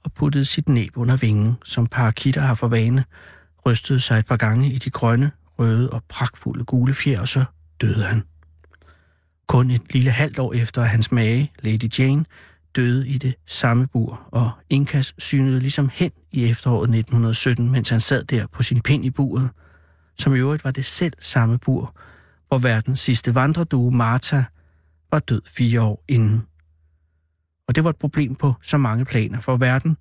E: og puttede sit næb under vingen, som parakitter har for vane, rystede sig et par gange i de grønne, røde og pragtfulde gule fjer, og så døde han. Kun et lille halvt år efter at hans mage, Lady Jane, døde i det samme bur, og Inkas synede ligesom hen i efteråret 1917, mens han sad der på sin pind i buret, som i øvrigt var det selv samme bur, hvor verdens sidste vandredue, Martha, var død fire år inden. Og det var et problem på så mange planer, for verden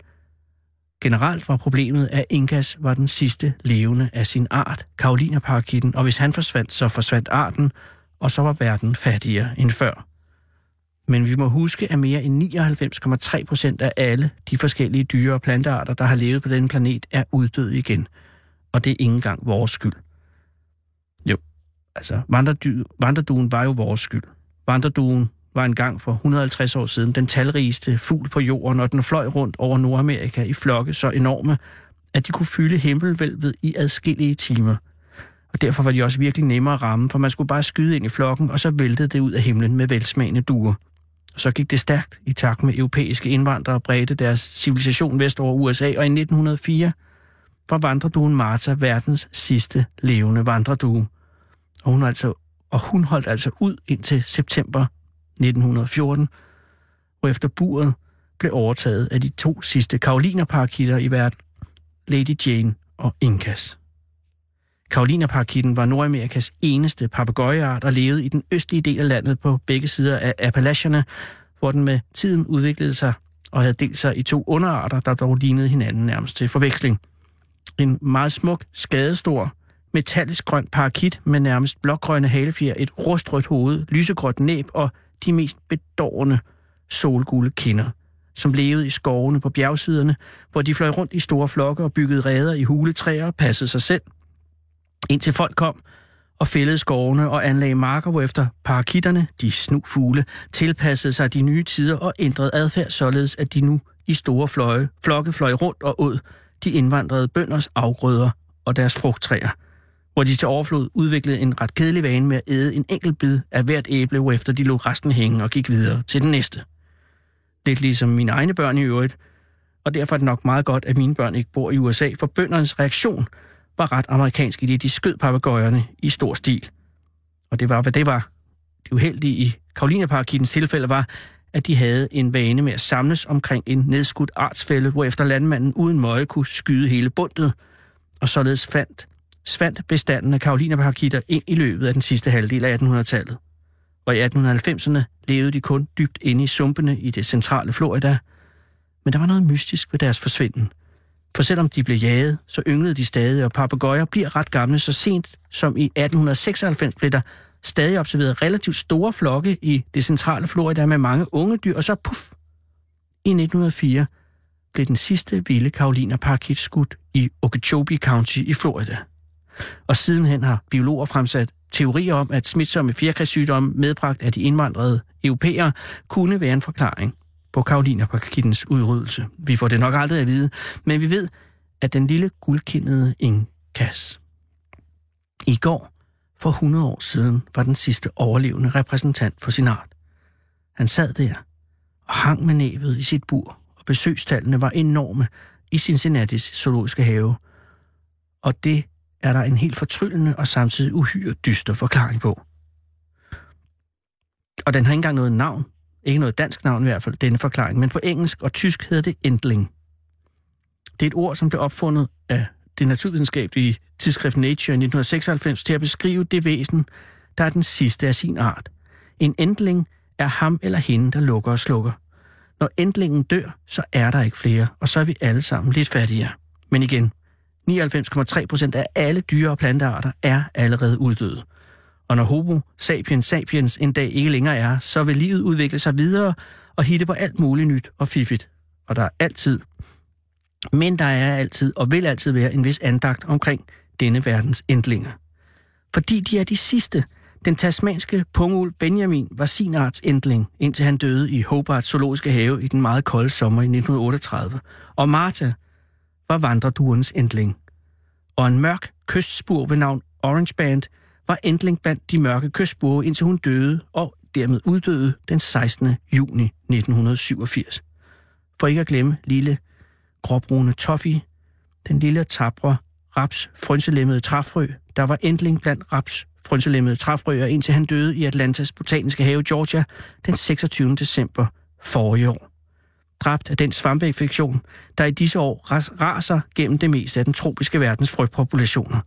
E: Generelt var problemet, at Inkas var den sidste levende af sin art, Karolinerparakitten, og hvis han forsvandt, så forsvandt arten, og så var verden fattigere end før. Men vi må huske, at mere end 99,3 procent af alle de forskellige dyre- og plantearter, der har levet på denne planet, er uddøde igen. Og det er ikke engang vores skyld. Jo, altså, vandredu- vandreduen var jo vores skyld. Vandreduen var engang for 150 år siden den talrigeste fugl på jorden, og den fløj rundt over Nordamerika i flokke så enorme, at de kunne fylde himmelvælvet i adskillige timer. Og derfor var de også virkelig nemmere at ramme, for man skulle bare skyde ind i flokken, og så væltede det ud af himlen med velsmagende duer. Og så gik det stærkt i takt med europæiske indvandrere bredte deres civilisation vest over USA, og i 1904 var vandreduen Martha verdens sidste levende vandredue. Og hun, altså, og hun holdt altså ud indtil september 1914, og efter buret blev overtaget af de to sidste karolinerparakitter i verden, Lady Jane og Inkas. Karolinerparakitten var Nordamerikas eneste papegøjeart og levede i den østlige del af landet på begge sider af Appalacherne, hvor den med tiden udviklede sig og havde delt sig i to underarter, der dog lignede hinanden nærmest til forveksling. En meget smuk, skadestor, metallisk grøn parakit med nærmest blågrønne halefjer, et rustrødt hoved, lysegråt næb og de mest bedårende solgule kinder, som levede i skovene på bjergsiderne, hvor de fløj rundt i store flokke og byggede reder i huletræer og passede sig selv, indtil folk kom og fældede skovene og anlagde marker, hvorefter parakitterne, de snufugle, tilpassede sig de nye tider og ændrede adfærd således, at de nu i store fløje, flokke fløj rundt og åd de indvandrede bønders afgrøder og deres frugttræer, hvor de til overflod udviklede en ret kedelig vane med at æde en enkelt bid af hvert æble, hvorefter de lå resten hænge og gik videre til den næste. Lidt ligesom mine egne børn i øvrigt, og derfor er det nok meget godt, at mine børn ikke bor i USA, for bøndernes reaktion var ret amerikansk, i det de skød papegøjerne i stor stil. Og det var, hvad det var. Det uheldige i Karolineparkittens tilfælde var, at de havde en vane med at samles omkring en nedskudt artsfælde, hvorefter landmanden uden møje kunne skyde hele bundet, og således fandt, svandt bestanden af karolinerparakitter ind i løbet af den sidste halvdel af 1800-tallet. Og i 1890'erne levede de kun dybt inde i sumpene i det centrale Florida, men der var noget mystisk ved deres forsvinden. For selvom de blev jaget, så ynglede de stadig, og papegøjer bliver ret gamle så sent som i 1896 blev der stadig observeret relativt store flokke i det centrale Florida med mange unge dyr, og så puff, i 1904 blev den sidste vilde karolinerparakit skudt i Okeechobee County i Florida. Og sidenhen har biologer fremsat teorier om, at smitsomme fjerkræssygdomme medbragt af de indvandrede europæere kunne være en forklaring på karolinerparakittens udryddelse. Vi får det nok aldrig at vide, men vi ved, at den lille guldkindede Inkas i går for 100 år siden var den sidste overlevende repræsentant for sin art. Han sad der og hang med næbet i sit bur, og besøgstallene var enorme i Cincinnatis zoologiske have. Og det er der en helt fortryllende og samtidig uhyre dyster forklaring på. Og den har ikke engang noget navn. Ikke noget dansk navn i hvert fald, denne forklaring. Men på engelsk og tysk hedder det endling. Det er et ord, som blev opfundet af det naturvidenskabelige tidsskrift Nature i 1996 til at beskrive det væsen, der er den sidste af sin art. En endling er ham eller hende, der lukker og slukker. Når endlingen dør, så er der ikke flere, og så er vi alle sammen lidt fattigere. Men igen, 99,3 procent af alle dyre- og plantearter er allerede uddøde. Og når homo sapiens sapiens en dag ikke længere er, så vil livet udvikle sig videre og hitte på alt muligt nyt og fiffigt. Og der er altid, men der er altid og vil altid være en vis andagt omkring denne verdens ændlinger. Fordi de er de sidste. Den tasmanske pungul Benjamin var sin arts ændling, indtil han døde i Hobart Zoologiske Have i den meget kolde sommer i 1938. Og Martha var vandreduernes ændling. Og en mørk kystspur ved navn Orange Band var ændling blandt de mørke kystspure, indtil hun døde og dermed uddøde den 16. juni 1987. For ikke at glemme lille gråbrune Toffee, den lille tabre raps frynselemmede træfrø, der var ændling blandt raps frynselemmede træfrøer, indtil han døde i Atlantas botaniske have Georgia den 26. december forrige år. Dræbt af den svampeinfektion, der i disse år ras- raser gennem det meste af den tropiske verdens frøpopulationer.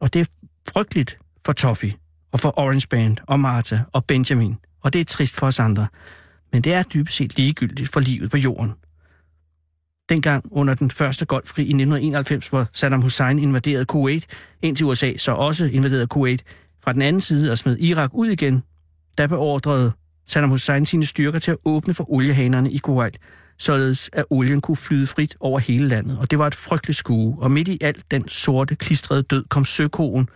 E: Og det er frygteligt for Toffee, og for Orange Band, og Martha, og Benjamin. Og det er trist for os andre. Men det er dybest set ligegyldigt for livet på jorden. Dengang under den første golfkrig i 1991, hvor Saddam Hussein invaderede Kuwait, indtil USA så også invaderede Kuwait fra den anden side og smed Irak ud igen, der beordrede Saddam Hussein sine styrker til at åbne for oliehanerne i Kuwait, således at olien kunne flyde frit over hele landet. Og det var et frygteligt skue, og midt i alt den sorte, klistrede død kom søkoen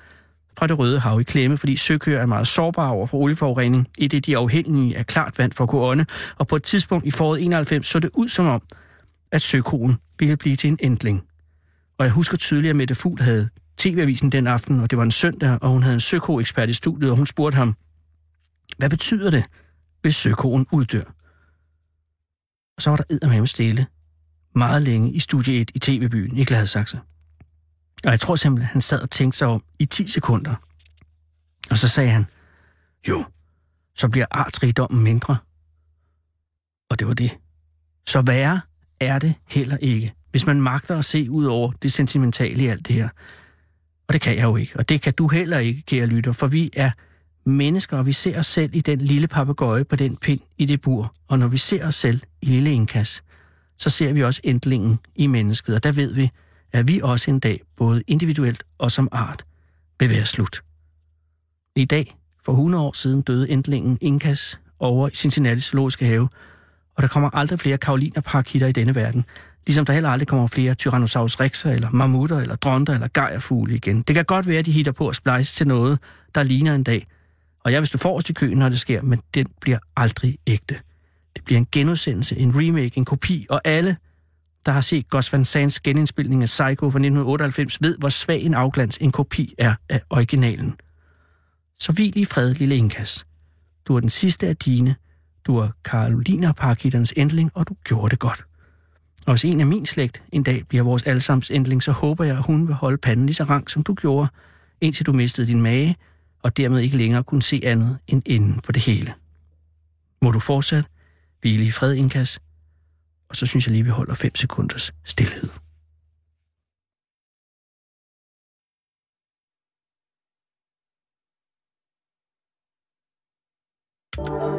E: fra det Røde Hav i klemme, fordi søkøer er meget sårbare over for olieforurening, i det de er afhængige af klart vand for at kunne ånde, og på et tidspunkt i foråret 91 så det ud som om, at søkoen ville blive til en ændling. Og jeg husker tydeligt, at Mette Fugl havde TV-avisen den aften, og det var en søndag, og hun havde en søkoekspert i studiet, og hun spurgte ham, hvad betyder det, hvis søkoen uddør? Og så var der eddermame stille meget længe i studie 1 i TV-byen i Gladsaxe. Og jeg tror simpelthen, han sad og tænkte sig om i 10 sekunder. Og så sagde han, jo, så bliver artsrigdommen mindre. Og det var det. Så værre er det heller ikke, hvis man magter at se ud over det sentimentale i alt det her. Og det kan jeg jo ikke, og det kan du heller ikke, kære lytter, for vi er mennesker, og vi ser os selv i den lille papegøje på den pind i det bur. Og når vi ser os selv i lille indkast, så ser vi også ændlingen i mennesket, og der ved vi, at vi også en dag, både individuelt og som art, vil være slut. I dag, for 100 år siden, døde ændlingen Inkas over i Cincinnati Zoologiske Have, og der kommer aldrig flere karolinerparakitter i denne verden, ligesom der heller aldrig kommer flere Tyrannosaurus rexer, eller mammutter, eller dronter, eller gejerfugle igen. Det kan godt være, at de hitter på at splice til noget, der ligner en dag. Og jeg vil stå forrest i køen, når det sker, men den bliver aldrig ægte. Det bliver en genudsendelse, en remake, en kopi, og alle, der har set Gus Van Sands genindspilning af Psycho fra 1998, ved, hvor svag en afglans en kopi er af originalen. Så hvil i fred, lille Inkas. Du er den sidste af dine. Du er Karolina-parakitternes endling, og du gjorde det godt. Og hvis en af min slægt en dag bliver vores allesammens endling, så håber jeg, at hun vil holde panden lige så rank, som du gjorde, indtil du mistede din mage, og dermed ikke længere kunne se andet end enden på det hele. Må du fortsat hvile i fred, Inkas, og så synes jeg lige, vi holder 5 sekunders stillhed.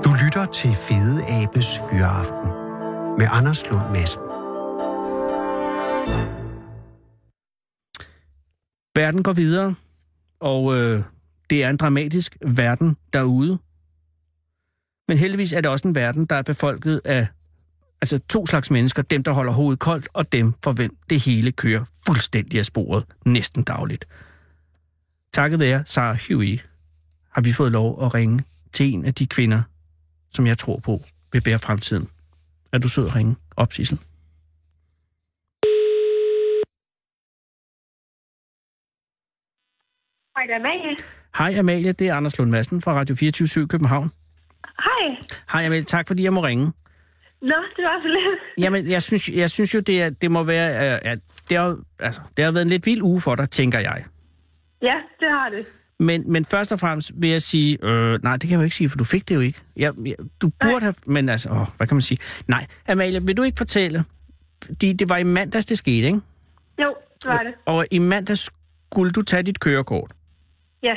C: Du lytter til Fede Abes Fyraften med Anders Lund Madsen.
E: Verden går videre, og øh, det er en dramatisk verden derude. Men heldigvis er det også en verden, der er befolket af altså to slags mennesker. Dem, der holder hovedet koldt, og dem, for hvem det hele kører fuldstændig af sporet næsten dagligt. Takket være Sarah Huey har vi fået lov at ringe til en af de kvinder, som jeg tror på vil bære fremtiden. Er du sød at ringe op, Sissel?
F: Hej, det er Amalie.
E: Hej Amalie, det er Anders Lund Madsen fra Radio 24 København.
F: Hej.
E: Hej Amalie, tak fordi jeg må ringe.
F: Nå, det var så lidt.
E: Jamen, jeg synes, jeg synes jo, det, er, det må være... øh, At det, har, altså, det har været en lidt vild uge for dig, tænker jeg.
F: Ja, det har det.
E: Men, men først og fremmest vil jeg sige... Øh, nej, det kan jeg jo ikke sige, for du fik det jo ikke. Jeg, jeg, du burde have... Men altså, åh, hvad kan man sige? Nej, Amalie, vil du ikke fortælle? Fordi det var i mandags, det skete, ikke?
F: Jo, det var det.
E: Og i mandags skulle du tage dit kørekort.
F: Ja.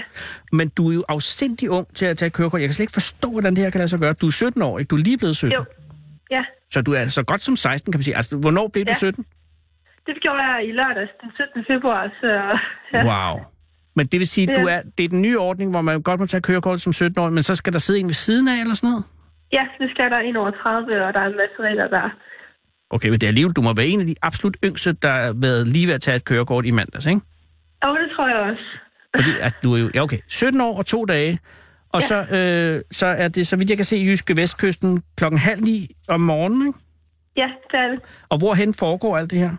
E: Men du er jo afsindig ung til at tage kørekort. Jeg kan slet ikke forstå, hvordan det her kan lade sig gøre. Du er 17 år, ikke? Du er lige blevet 17.
F: Jo. Ja,
E: Så du er så godt som 16, kan man sige. Altså, hvornår blev du
F: Ja.
E: 17?
F: det gjorde jeg i lørdags den 17. februar, så... Ja.
E: Wow. Men det vil sige, at du
F: Ja.
E: er, det er den nye ordning, hvor man godt må tage kørekort som 17-årig, men så skal der sidde en ved siden af eller sådan noget?
F: ja, nu skal der ind over 30, og der er en masse regler der.
E: Okay, men det er alligevel, du må være en af de absolut yngste, der har været lige ved at tage et kørekort i mandags, ikke?
F: Og det tror jeg også.
E: Fordi at du er jo, ja okay, 17 år og to dage, og ja. så, øh, så er det, så vidt jeg kan se, Jyske Vestkysten klokken halv ni om morgenen, ikke?
F: Ja, det er det.
E: Og hvorhen foregår alt det her?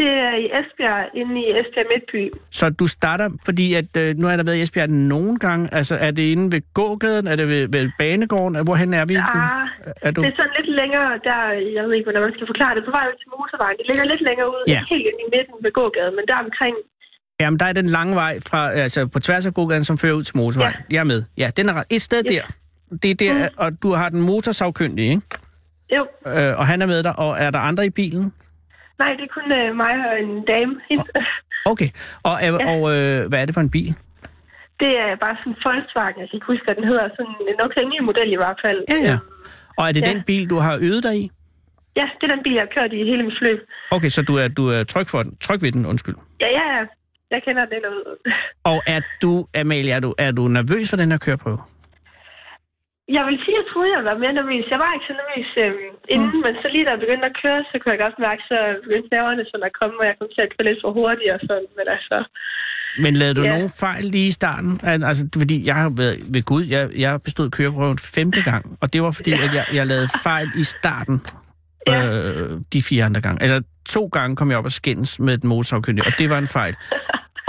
F: Det er i Esbjerg, inde i Esbjerg Midtby.
E: Så du starter, fordi at, øh, nu har der været i Esbjerg nogle gange, altså er det inde ved gågaden, er det ved, ved banegården, hvorhen er vi?
F: Ah,
E: er du...
F: Det er sådan lidt længere der, jeg ved ikke, hvordan man skal forklare det, på vej ud til motorvejen. Det ligger lidt længere ud,
E: Ja.
F: ikke helt ind i midten ved gågaden, men der omkring.
E: Jamen, der er den lange vej fra, altså på tværs af gågaden, som fører ud til motorvejen. Ja. Jeg er med. Ja, den er ret- et sted
F: Ja.
E: der. Det er der, og du har den motorsavkyndige, ikke?
F: Jo,
E: Øh, og han er med dig, og er der andre i bilen?
F: nej, det er kun øh, mig og en dame.
E: Okay. Og, er,
F: Ja.
E: og øh, hvad er det for en bil?
F: [LAUGHS] Det er bare sådan en Volkswagen, jeg kan ikke huske, hvad den hedder. Sådan en nok model i hvert fald.
E: Ja, ja. Og er det ja.
F: Ja.
E: den bil, du har øvet dig i?
F: Ja, det er den bil, jeg har kørt i hele mit forløb.
E: Okay, så du er, du er tryg, for den, tryg ved den, undskyld.
F: Ja, ja, jeg kender den ud. [LAUGHS]
E: Og er du, Amalie, er du, er du nervøs for den her køreprøve?
F: Jeg vil sige, at jeg troede, jeg var mere nervøs. Jeg var ikke så nervøs øhm, inden, mm. men så lige da jeg begyndte at køre, så kunne jeg godt mærke, så begyndte nerverne sådan at komme, og jeg kom til at køre lidt for hurtigt og sådan, men altså...
E: Men lavede du ja.
F: Ja.
E: nogen fejl lige i starten? Al- Altså, det er fordi jeg har været ved Gud, jeg, jeg bestod køreprøven femte gang, og det var fordi, ja. at jeg, jeg lavede fejl i starten
F: Ja.
E: øh, de fire andre gange. Eller to gange kom jeg op og skændes med den motorsagkyndige, og det var en fejl.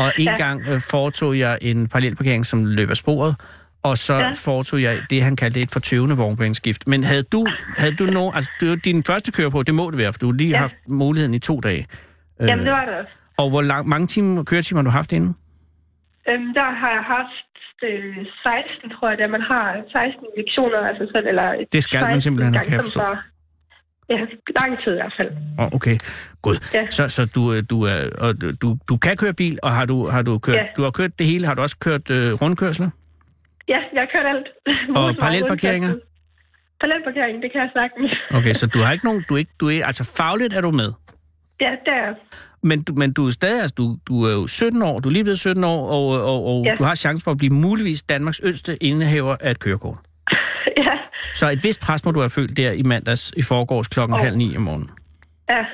E: Og en ja. gang øh, foretog jeg en parallelparkering, som løb af sporet, og så ja.
F: Ja.
E: foretog jeg det, han kaldte et fortøvende vognbaneskift. Men havde du, havde du nogen, altså det var din første køreprøve, det må det være, for du har lige ja.
F: Ja.
E: haft muligheden i to dage.
F: Øh. Jamen, det var det også.
E: Og hvor lang, mange timer, køretimer har du haft inden?
F: Øhm, der har jeg haft øh, 16, tror jeg, da man har 16 lektioner, altså selv, eller...
E: Det skal man
F: 16
E: simpelthen,
F: gange
E: kan jeg
F: som
E: forstå.
F: far. Ja, lang tid i hvert fald.
E: Åh, oh, okay. God. Ja.
F: Ja.
E: Så, så du, øh, du, er, og du- du, du kan køre bil, og har du, har du, kørt, ja.
F: Ja.
E: du har kørt det hele? Har du også kørt øh, rundkørsler?
F: Ja, jeg har kørt alt. Motorvej,
E: parallelparkeringer?
F: rundkørsel. Parallelparkering, det kan jeg sagtens.
E: Okay, så du har ikke nogen... Du er ikke, du er, altså, fagligt er du med.
F: [LAUGHS] Ja, der.
E: Men du, men du er stadig, altså, du, du er jo 17 år, du er lige blevet 17 år, og, og, og ja.
F: Ja.
E: du har chance for at blive muligvis Danmarks yngste indehaver af et kørekort.
F: Ja,
E: Så et vist pres må du have følt der i mandags i forgårs klokken oh. halv ni om morgenen.
F: ja.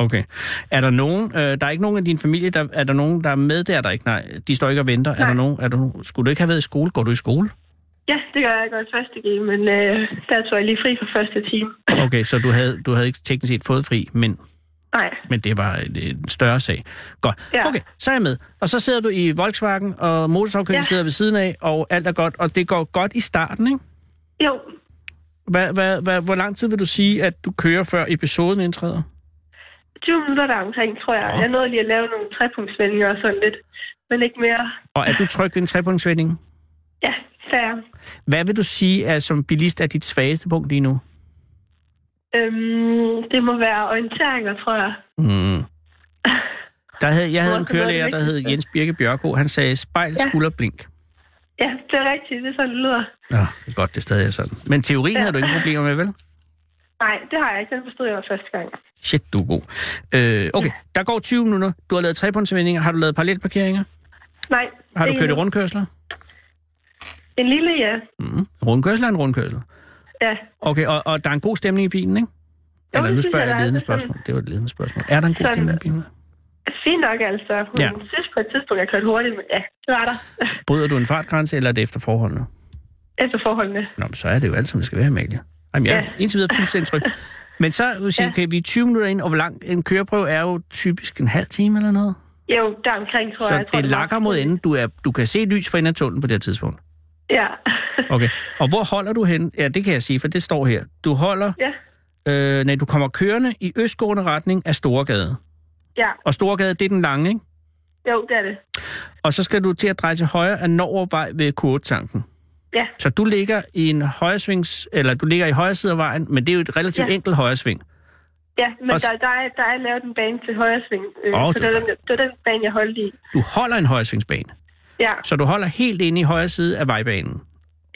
E: Okay. Er der nogen, øh, der er ikke nogen af din familie, der, er der nogen, der er med der, der ikke? Nej, de står ikke og venter. Er
F: Nej.
E: der nogen, er der, nogen- skulle du ikke have været i skole? Går du i skole?
F: Ja, det gør jeg godt i første game, men øh, der tog jeg lige fri for første time.
E: Okay, så du havde, du havde ikke teknisk set fået fri, men,
F: [LAUGHS] Nej,
E: men det var en, en større sag. Godt.
F: Ja.
E: Okay, så er jeg med. Og så sidder du i Volkswagen, og motorsavkønnen ja.
F: Ja.
E: sidder ved siden af, og alt er godt. Og det går godt i starten, ikke?
F: jo.
E: Hva, hva, hva, hvor lang tid vil du sige, at du kører, før episoden indtræder?
F: 20 minutter der omkring, tror jeg.
E: Nå.
F: Jeg nåede lige at lave nogle trepunktsvendinger og sådan lidt, men ikke mere.
E: Og er du tryg ved en trepunktsvending?
F: Ja, færre.
E: Hvad vil du sige, at som bilist er dit svageste punkt lige nu?
F: Øhm, det må være orienteringer, tror jeg.
E: Mm. Der havde, jeg havde en
F: Hvor- hvor er det
E: kørelærer, der hed
F: vigtigste?
E: Jens Birke Bjørko. Han sagde spejl,
F: Ja.
E: skulder, blink.
F: Ja, det er rigtigt. Det er sådan, det lyder.
E: Ja, det er godt, det stadig er sådan. Men teorien
F: Ja.
E: havde du ingen problemer med, vel?
F: Nej, det har jeg ikke. Den forstod jeg jo første gang.
E: Shit, du er god. Øh, okay, der går 20 minutter. Du har lavet trepunktsvendinger. Har du lavet parallelparkeringer?
F: Nej.
E: Har du
F: det er
E: kørt i
F: en-
E: rundkørsler?
F: En lille, ja.
E: Mm. Rundkørsler er en rundkørsel.
F: Ja,
E: Okay, og, og der er en god stemning i bilen, ikke?
F: Jo,
E: Eller
F: det
E: nu
F: synes
E: spørger
F: jeg,
E: jeg et
F: der er.
E: ledende
F: Det er sådan-
E: spørgsmål. Det var et ledende spørgsmål. Er der en god
F: Sådan-
E: stemning i bilen?
F: fint nok altså. Hun
E: Ja.
F: ja. synes på et tidspunkt, jeg kørte hurtigt, men ja, det var der. [LAUGHS]
E: Bryder du en fartgrænse, eller er det efter forholdene?
F: Efter forholdene.
E: Nå, men så er det jo alt, som det skal være, Amalie. Jamen, jeg er
F: Ja.
E: indtil videre fuldstændig tryg. Men
F: [LAUGHS]
E: så vil du sige,
F: Ja.
E: okay, vi er 20 minutter ind, og hvor lang en køreprøve er jo typisk en halv time eller noget.
F: Jo, der omkring, tror
E: Så
F: jeg. jeg. tror,
E: det
F: var-
E: lakker mod enden. Du, er, du kan se lys for enden af tunnelen på det her tidspunkt.
F: Ja.
E: Okay. Og hvor holder du hen? Ja, det kan jeg sige, for det står her. Du holder,
F: [LAUGHS] ja.
E: øh, nej, du kommer kørende i østgående retning af Storgade.
F: Ja,
E: Og Storgade, det er den lange, ikke?
F: jo, det er det.
E: Og så skal du til at dreje til højre af Norgervej ved Kurtanken.
F: Ja.
E: Så du ligger i en højresvings, eller du ligger i højre side af vejen, men det er jo et relativt ja.
F: Ja.
E: enkelt højresving.
F: Ja, men
E: Og s-
F: der, der, er, der er lavet en bane til højre sving. Øh,
E: Åh,
F: oh,
E: det
F: så det
E: var
F: var, den, det var den bane, jeg holdt i.
E: Du holder en højresvingsbane,
F: Ja,
E: så du holder helt inde i højre side af vejbanen.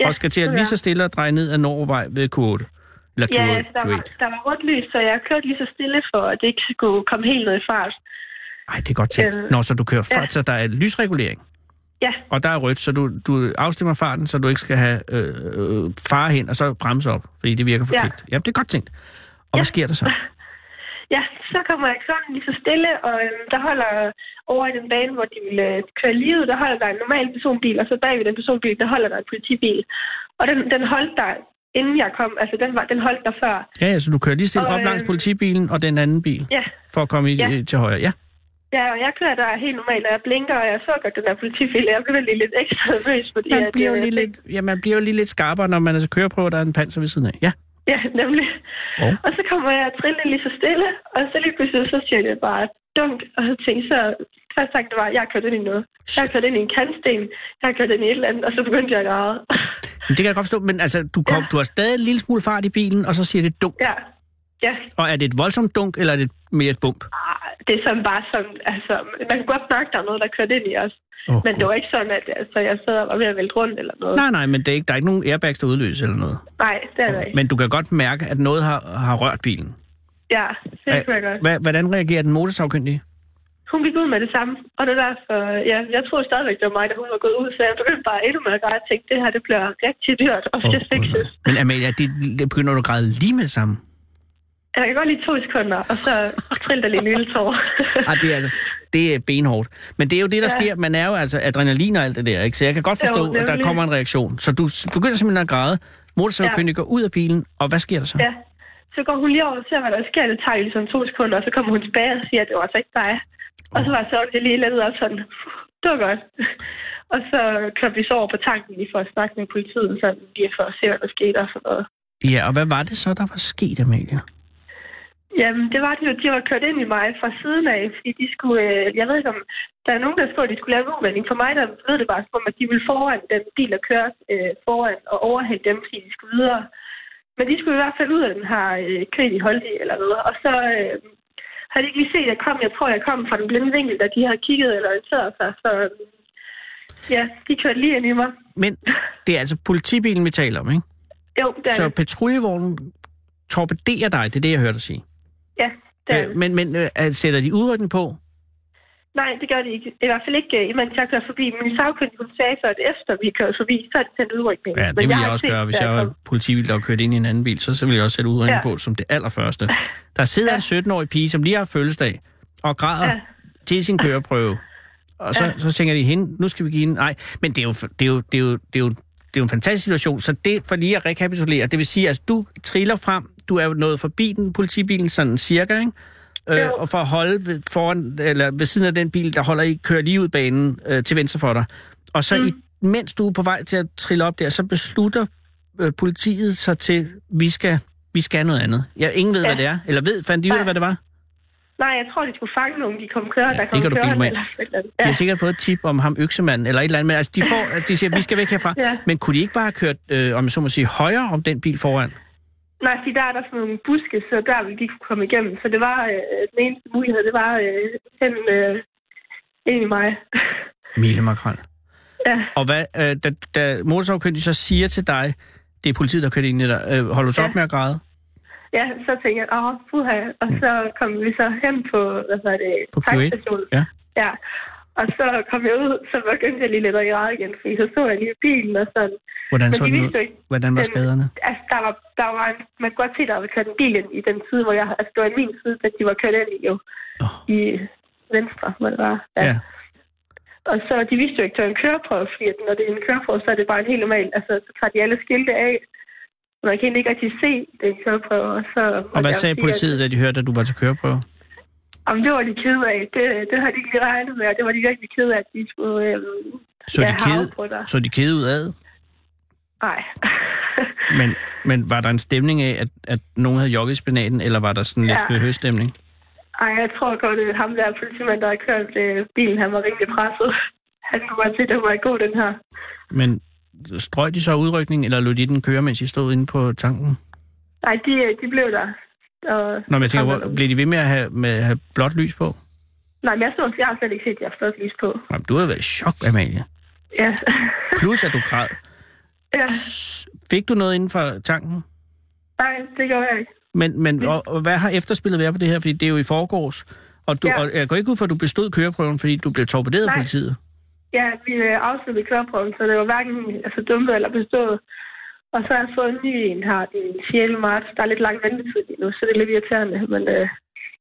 F: ja
E: og skal til at
F: det
E: lige
F: var-
E: så stille og dreje ned ad Norgervej ved Q8. Eller Q8.
F: Ja, altså, der, var, der var rødt lys, så jeg kørte lige så stille for, at det ikke skulle komme helt ned i fart.
E: Ej, det er godt tænkt.
F: Øh,
E: Nå, så du kører
F: ja.
E: fart, så der er lysregulering,
F: Ja,
E: og der er rødt, så du, du afstemmer farten, så du ikke skal have øh, øh, fare hen, og så bremse op, fordi det virker
F: Ja.
E: forkert. Ja. Jamen, det er godt tænkt. Og ja. hvad
F: Ja.
E: sker der så?
F: ja, så kommer jeg kørende lige så stille, og øhm, der holder over i den bane, hvor de ville øh, køre lige ud, der holder der en normal personbil, og så bagved den personbil, der holder der en politibil. Og den, den holdt der, inden jeg kom, altså den, var, den holdt der før.
E: Ja, ja, så du kører lige stille
F: Og,
E: op langs
F: øh,
E: politibilen og den anden bil,
F: Ja,
E: for at komme i,
F: ja.
E: ja. til højre. Ja,
F: Ja, og jeg kører der helt normalt, og jeg blinker, og jeg så godt den der politibil. Jeg blev lige lidt ekstra nervøs, fordi...
E: man,
F: at,
E: bliver jo
F: øh,
E: lige lidt, ja, man bliver jo lige lidt skarpere, når man altså kører på, at der er en panser ved siden af. Ja,
F: [LAUGHS] Ja, nemlig.
E: Og?
F: Og, og så kommer jeg trillende lige så stille, og så lige pludselig, så siger jeg bare dumt, og så tænkte så... Først sagde det var, jeg har kørt ind i noget. Jeg har kørt ind i en kantsten, jeg har kørt ind i et eller andet, og så begyndte jeg at græde. [LAUGHS]
E: men det kan jeg godt forstå, men altså, du, kom, ja.
F: Ja.
E: du har stadig en lille smule fart i bilen, og så siger det dunk.
F: ja, ja.
E: Og er det et voldsomt dunk, eller er det mere et bump?
F: Ah, Det er sådan bare sådan, altså, man kan godt mærke, der er noget, der kørte ind i os.
E: Oh,
F: Men det var ikke sådan, at altså, jeg sad og var ved at vælte rundt eller noget.
E: Nej, nej, men det er ikke, der er ikke nogen airbags, der udløses eller noget.
F: Nej, det er der ikke.
E: Men du kan godt mærke, at noget har, har rørt bilen.
F: Ja, det kunne jeg godt.
E: Hva- Hvordan reagerer den motorsavkyndige?
F: Hun gik ud med det samme, og det er derfor, ja, jeg troede stadigvæk, det var mig, da hun var gået ud, så jeg begyndte bare endnu mere at græde og tænke, det her, det bliver rigtig dyrt, og det
E: Åh,
F: fikses.
E: gud. Men Amalia, det, det begynder du at græde lige med det samme.
F: Jeg kan godt lige to sekunder, og så triller der lige en lille tår.
E: Ah, det, er, altså- det er benhårdt. Men det er jo det, der
F: Ja.
E: sker. Man er jo altså adrenalin og alt det der, ikke? Så jeg kan godt
F: Jo,
E: forstå, at der
F: nemlig.
E: kommer en reaktion. Så du s- begynder simpelthen at græde. Motorsavkyndige går ud af bilen, og hvad sker der så?
F: [LAUGHS] ja. Så går hun lige over og ser, hvad der sker, det tager jo ligesom to sekunder, og så kommer hun tilbage og siger, at det var altså ikke dig. Og så var jeg så ondt, jeg lige lettede op sådan, det var godt. [LAUGHS] Og så kørte vi så over på tanken lige for at snakke med politiet, sådan lige for at se, hvad der skete og sådan noget.
E: Ja, og hvad var det så, der var sket, Amalia?
F: Jamen, det var det jo. De var kørt ind i mig fra siden af, fordi de skulle... Øh, jeg ved ikke om... Der er nogen, der skriver, at de skulle lave en udmelding. For mig, der ved det bare som om, at de ville foran den bil, der kører øh, foran og overhælde dem, fordi de skulle videre. Men de skulle i hvert fald ud af den her øh, krig, de holdt i, eller noget. Og så øh, har de ikke lige set, at jeg kom. Jeg tror, jeg kom fra den blinde vinkel, da de havde kigget eller orienteret sig. Så øh, ja, de kørte lige ind i mig.
E: Men det er altså politibilen, vi taler om, ikke?
F: Jo, det er
E: Så
F: det.
E: patruljevognen torpederer dig, det er det, jeg hørte dig sige.
F: Ja, det er det.
E: Øh, men men øh, at- sætter de udrykning på?
F: Nej, det gør de ikke. I hvert fald ikke, øh, mens jeg kører forbi. Min sagkyndige hun sagde så, at efter vi kører forbi, så er det sendt udrykning.
E: Ja, det ville jeg, også gøre, hvis jeg var politibil, der var kørt ind i en anden bil. Så, så ville jeg også sætte udrykning ja.
F: Ja.
E: på som det allerførste. Der sidder ja. en 17-årig pige, som lige har haft fødselsdag, og græder ja.
F: Ja.
E: til sin køreprøve. Og så, ja.
F: Ja.
E: så tænker de hende, nu skal vi give hende... Nej, men det er jo, det er jo, det er jo, det er jo, det er jo en fantastisk situation. Så det, for lige at rekapitulere, det vil sige, at altså, du triller frem, du er jo nået forbi den politibilen sådan cirka, ikke? Øh,
F: Jo.
E: og for at holde ved, foran, eller ved siden af den bil, der holder i, kører lige ud banen øh, til venstre for dig. Og så mm. i, mens du er på vej til at trille op der, så beslutter øh, politiet sig til, vi skal, vi skal noget andet. Jeg, ingen ved, ja. hvad det er. Eller ved, fandt de ud af,
F: Nej.
E: hvad det var?
F: Nej, jeg tror, de skulle fange nogen, de kom kørende,
E: Ja,
F: ja,
E: det
F: der kom
E: kan du bilde
F: kørende.
E: mig ind.
F: Eller et eller andet.
E: De
F: ja.
E: har sikkert fået et tip om ham øksemanden eller et eller andet, men altså, de, får, de siger, vi skal væk herfra.
F: Ja.
E: Men kunne de ikke bare have kørt, øh, om jeg så må sige, højere om den bil foran?
F: Nej, fordi der er der sådan nogle buske, så der ville de ikke kunne komme igennem. Så det var øh, den eneste mulighed, det var øh, hen øh, ind i mig. [LAUGHS]
E: Mille Makrel.
F: ja.
E: Og hvad, øh, da, da motorsavkyndige så siger til dig, det er politiet, der kører ind i dig, øh, holder du så
F: Ja.
E: op med at græde
F: ja, så tænkte jeg, åh, puha. Og så kom vi så hen på, hvad hedder det,
E: Mm. på Q1?
F: tankstationen.
E: Ja.
F: Ja, og så kom jeg ud, så begyndte jeg lige lidt at græde igen, fordi så så jeg lige bilen og sådan.
E: Hvordan
F: Men
E: så
F: de
E: den
F: vidste jo
E: ud?
F: ikke,
E: Hvordan var
F: den-
E: skaderne?
F: Altså, der var, der var en, man kunne godt se, der var kørt en bil ind i den side, hvor jeg... Altså, det var i min side, at de var kørt ind i jo.
E: Åh.
F: Oh. I venstre, hvor det var.
E: Ja.
F: Og så, de vidste jo ikke, det var en køreprøve, fordi at når det er en køreprøve, så er det bare en helt normal... Altså, så tager de alle skilte af. Og man kan egentlig ikke rigtig se, det er en køreprøve. Og, så,
E: Og hvad
F: jeg
E: sagde
F: siger,
E: politiet, da de hørte, at du var til køreprøve?
F: at- Om det var de ked af. Det, det havde de ikke lige regnet med, og det var de virkelig ked af, at de skulle... Øhm,
E: Så
F: ja,
E: de kede,
F: harve på dig.
E: så de kede ud af?
F: Nej. [LAUGHS]
E: Men, men var der en stemning af, at, at nogen havde jogget i spinaten, eller var der sådan lidt
F: Ja.
E: ja. høstemning?
F: Ej, jeg tror godt, at ham der politimand, der har kørt øh, bilen, han var rimelig presset. [LAUGHS] Han kunne godt se, at den var god, den her.
E: Men strøg de så udrykningen, eller lod de den køre, mens I stod inde på tanken?
F: Nej, de, øh, de blev der. Og,
E: Nå, men jeg tænker,
F: og-
E: hvor, blev de ved med at have, med at have blåt lys på?
F: Nej, men jeg, så, jeg har slet ikke set, at jeg har fået lys på.
E: Nå, men du havde været i chok, Amalie.
F: Ja. [LAUGHS]
E: Plus, at du græd.
F: ja.
E: Fik du noget inden for tanken?
F: Nej, det gør jeg ikke.
E: Men, men og, og hvad har efterspillet været på det her? Fordi det er jo i forgårs. Og, du, ja.
F: Ja.
E: og jeg går ikke ud for, at du bestod køreprøven, fordi du blev torpederet af
F: Nej.
E: politiet.
F: Ja, vi øh, afsluttede køreprøven, så det var hverken altså, dumpet eller bestået. Og så har jeg fået en ny en her den 4. marts. Der er lidt lang ventetid lige nu, så det er lidt irriterende, men øh,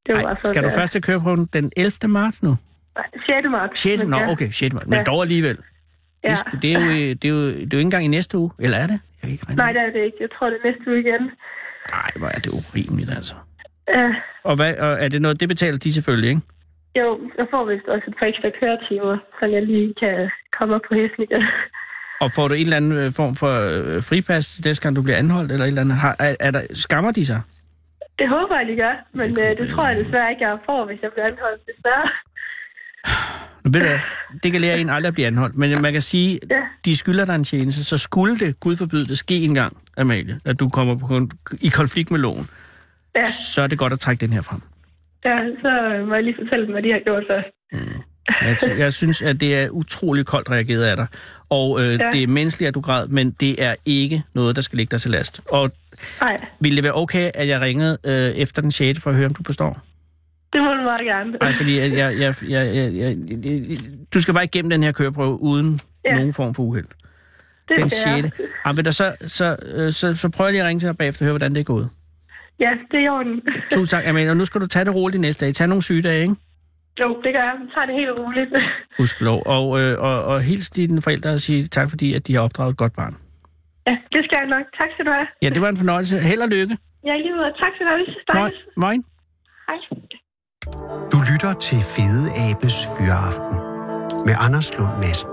F: det var
E: Nej,
F: sådan.
E: skal du
F: øh,
E: først til køreprøven den 11. marts nu?
F: Nej, 6. marts.
E: 6.
F: Men
E: Nå,
F: ja.
E: okay, 6. marts. Men
F: Ja.
E: dog alligevel. Ja.
F: Ja.
E: Det, sku- det, er jo, i- det, er jo, det er jo ikke engang i næste uge, eller er det? Jeg kan ikke regne.
F: Nej, det er det ikke. Jeg tror, det er næste uge igen.
E: Nej, hvor er det urimeligt, altså.
F: Ja.
E: Og, hvad, og er det noget, det betaler de selvfølgelig, ikke?
F: Jo, jeg får vist også et par ekstra køretimer, så jeg lige kan komme op på hesten igen. [LAUGHS]
E: Og får du en eller anden øh, form for øh, fripas, næste gang du bliver anholdt, eller et eller andet? Har, er, er der, skammer de sig?
F: Det håber jeg, de gør, men øh, det tror jeg desværre ikke, jeg får, hvis jeg bliver anholdt desværre.
E: Nu ved du, hvad, det kan lære en aldrig at blive anholdt, men man kan sige,
F: Ja.
E: de skylder dig en tjeneste, så skulle det, gud forbyde det, ske en gang, Amalie, at du kommer på, kon- i konflikt med loven,
F: Ja,
E: så er det godt at trække den her frem.
F: ja så øh, må jeg lige fortælle dem, hvad de har gjort først.
E: Jeg, ty- jeg synes, at det er utrolig koldt reageret af dig. Og øh, ja.
F: Ja.
E: det er menneskeligt, at du græd, men det er ikke noget, der skal ligge dig til last. Og
F: Nej,
E: ville det være okay, at jeg ringede øh, efter den 6. for at høre, om du forstår?
F: det må du meget gerne.
E: Nej, fordi at jeg, jeg, jeg, jeg, jeg, jeg, du skal bare igennem den her køreprøve uden ja.
F: Ja.
E: nogen form for uheld.
F: det
E: Den
F: skal jeg.
E: 6. Jamen, ved du, så, så, øh, så, så prøver jeg lige at ringe til dig bagefter og høre, hvordan det er gået.
F: Ja, det er i orden.
E: Tusind tak. Jamen, og nu skal du tage det roligt de næste dage. Tag nogle sygedage, ikke?
F: [LAUGHS] Jo, det gør jeg. Vi tager det helt roligt. [LAUGHS]
E: Gudskelov. Og, øh, og, og hils dine forældre og sige tak, fordi at de har opdraget et godt barn.
F: Ja, det skal jeg nok. Tak skal du have.
E: Ja, det var en fornøjelse. Held og lykke.
F: Jeg lige ud. Tak skal du have. Vi ses.
E: Moin.
F: Dejligt.
E: Moin.
F: Hej.
C: Du lytter til Fede Abes Fyraften med Anders Lund Madsen.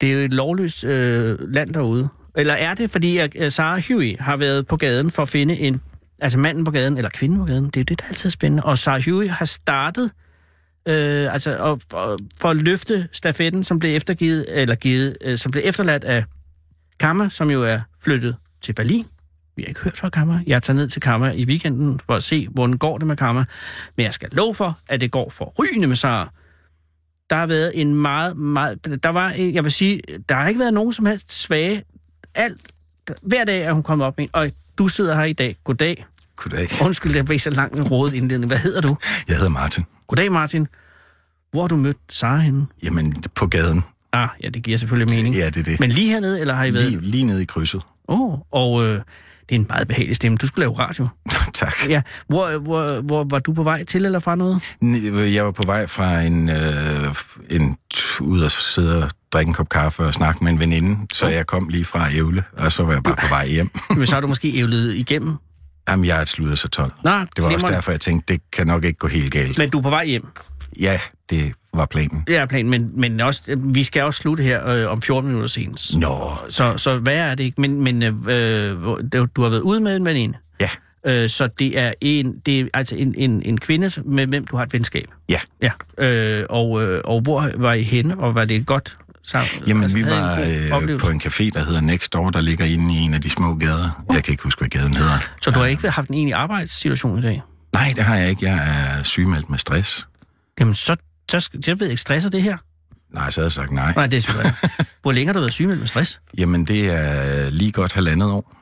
E: Det er jo et lovløst øh, land derude. Eller er det, fordi at øh, Sarah Huey har været på gaden for at finde en... Altså manden på gaden, eller kvinden på gaden. Det er jo det, der altid er spændende. Og Sarah Huey har startet... Øh, altså og, for, for at løfte stafetten, som blev eftergivet, eller givet, øh, som blev efterladt af Kammer, som jo er flyttet til Berlin. Vi har ikke hørt fra Kammer. Jeg tager ned til Kammer i weekenden for at se, hvordan går det med Kammer. Men jeg skal love for, at det går for rygende med Sarah. Der har været en meget, meget... Der var, en- jeg vil sige, der har ikke været nogen som helst svage. Alt, hver dag er hun kommet op med en, og du sidder her i dag. Goddag.
G: Goddag.
E: Undskyld, jeg blev så langt med rådet indledning. Hvad hedder du?
G: Jeg hedder Martin.
E: Goddag, Martin. Hvor har du mødt Sara henne?
G: Jamen, på gaden.
E: Ah, ja, det giver selvfølgelig mening.
G: Ja, det er det.
E: Men lige hernede, eller har I været?
G: Lige, lige nede i krydset. [LAUGHS]
E: Åh, oh, og øh, det er en meget behagelig stemme. Du skulle lave radio.
G: tak.
E: Ja, hvor, hvor, hvor var du på vej til eller fra noget?
G: N- Jeg var på vej fra en, øh, en t- ud og sidde og drikke en kop kaffe og snakke med en veninde, så jeg kom lige fra Ævle, og så var jeg bare på vej
E: [LAUGHS]
G: hjem.
E: Men så har du måske ævlet igennem.
G: Jamen, jeg er et sludder så 12.
E: Nej,
G: Det var også derfor, jeg tænkte, det kan nok ikke gå helt galt.
E: Men du er på vej hjem.
G: Ja, det var planen.
E: Det er planen, men, men også, vi skal også slutte her øh, om 14 minutter senest.
G: Nå,
E: Så, så hvad er det ikke? Men, men øh, øh, hvor- det- du har været ude med en veninde,
G: ja,
E: øh, så det er, en, det er altså en, en, en kvinde, med hvem du har et venskab.
G: ja.
E: Ja. Øh, og, øh, og hvor var I henne, og var det et godt sammen?
G: Jamen,
E: altså,
G: vi
E: havde I
G: var
E: en god
G: øh,
E: oplevelse?
G: på en café, der hedder Next Door, der ligger inde i en af de små gader. Jeg kan ikke huske, hvad gaden hedder.
E: Så du har ikke haft en egentlig arbejdssituation i dag?
G: Nej, det har jeg ikke. Jeg er sygemeldt med stress.
E: Jamen, så, så skal, jeg ved jeg ikke, stresser det her?
G: Nej, så havde jeg sagt nej.
E: Nej, det er selvfølgelig
G: [LAUGHS]
E: ikke. Hvor længe har du været sygemeldt med stress?
G: Jamen, det er lige godt halvandet år.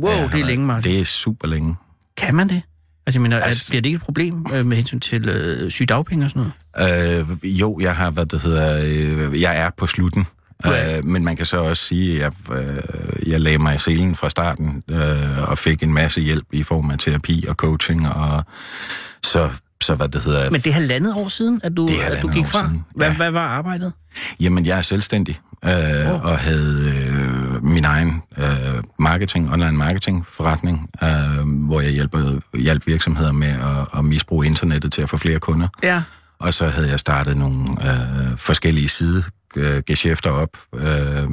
E: Wow,
G: jeg har
E: det er
G: været-
E: længe, Martin.
G: Det er super længe.
E: Kan man det? Altså, jeg mener, altså,
G: Altså-
E: bliver det ikke et problem øh, med hensyn til øh, sygedagpenge og sådan noget?
G: Øh, jo, jeg har, hvad det hedder, øh, jeg er på slutten.
E: Ja.
G: Øh, men man kan så også sige, at jeg, øh, jeg lagde mig i selen fra starten øh, og fik en masse hjælp i form af terapi og coaching. Og så, så hvad det hedder,
E: Men det er halvandet år siden, at du,
G: Det er
E: at du
G: halvandet
E: gik
G: år
E: fra.
G: siden,
E: Hvad,
G: ja.
E: hvad var arbejdet?
G: Jamen, jeg er selvstændig øh,
E: Wow.
G: og havde øh, min egen øh, marketing, online marketing forretning, øh, hvor jeg hjælper, hjalp virksomheder med at, at misbruge internettet til at få flere kunder.
E: Ja.
G: Og så havde jeg startet nogle øh, forskellige sidegeschæfter op, øh,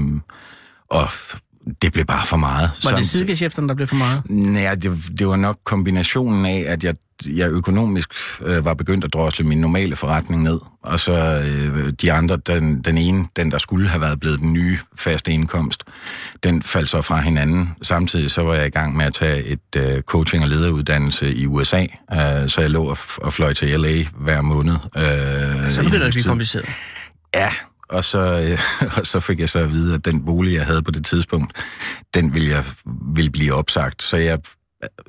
G: og det blev bare for
E: Var
G: meget.
E: det
G: Samtidig-
E: sidegeschæfterne, der blev for meget?
G: Nej, det, det var nok kombinationen af, at jeg, jeg økonomisk øh, var begyndt at drosle min normale forretning ned, og så øh, de andre, den, den ene, den der skulle have været blevet den nye faste indkomst, den faldt så fra hinanden. Samtidig så var jeg i gang med at tage et øh, coaching- og lederuddannelse i USA, øh, så jeg lå og, f- og fløj til LA hver måned. Øh,
E: Så
G: i en
E: begynder det at
G: uges
E: blive
G: tid.
E: kompliceret.
G: Ja, og så, øh, [LAUGHS] og så fik jeg så at vide, at den bolig, jeg havde på det tidspunkt, den ville, jeg, ville blive opsagt. Så jeg,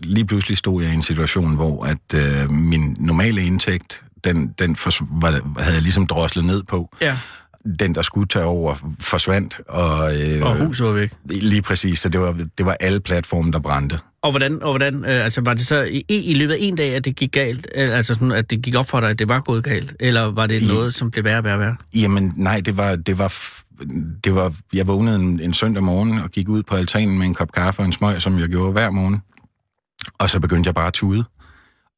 G: lige pludselig stod jeg i en situation, hvor at, øh, min normale indtægt, den, den fors- var, havde jeg ligesom droslet ned på.
E: Ja,
G: Den, der skulle tage over, forsvandt. Og, øh,
E: og huset var væk.
G: Lige præcis, så det var, det var alle platforme, der brændte.
E: Og hvordan, og hvordan øh, altså var det så i, i løbet af en dag, at det gik galt? Eller, Altså sådan, at det gik op for dig, at det var gået galt? Eller var det
G: I-
E: noget, som blev værre og værre og værre?
G: Jamen, nej, det var... Det var det var, jeg vågnede en, en søndag morgen og gik ud på altanen med en kop kaffe og en smøg, som jeg gjorde hver morgen. Og så begyndte jeg bare at tude.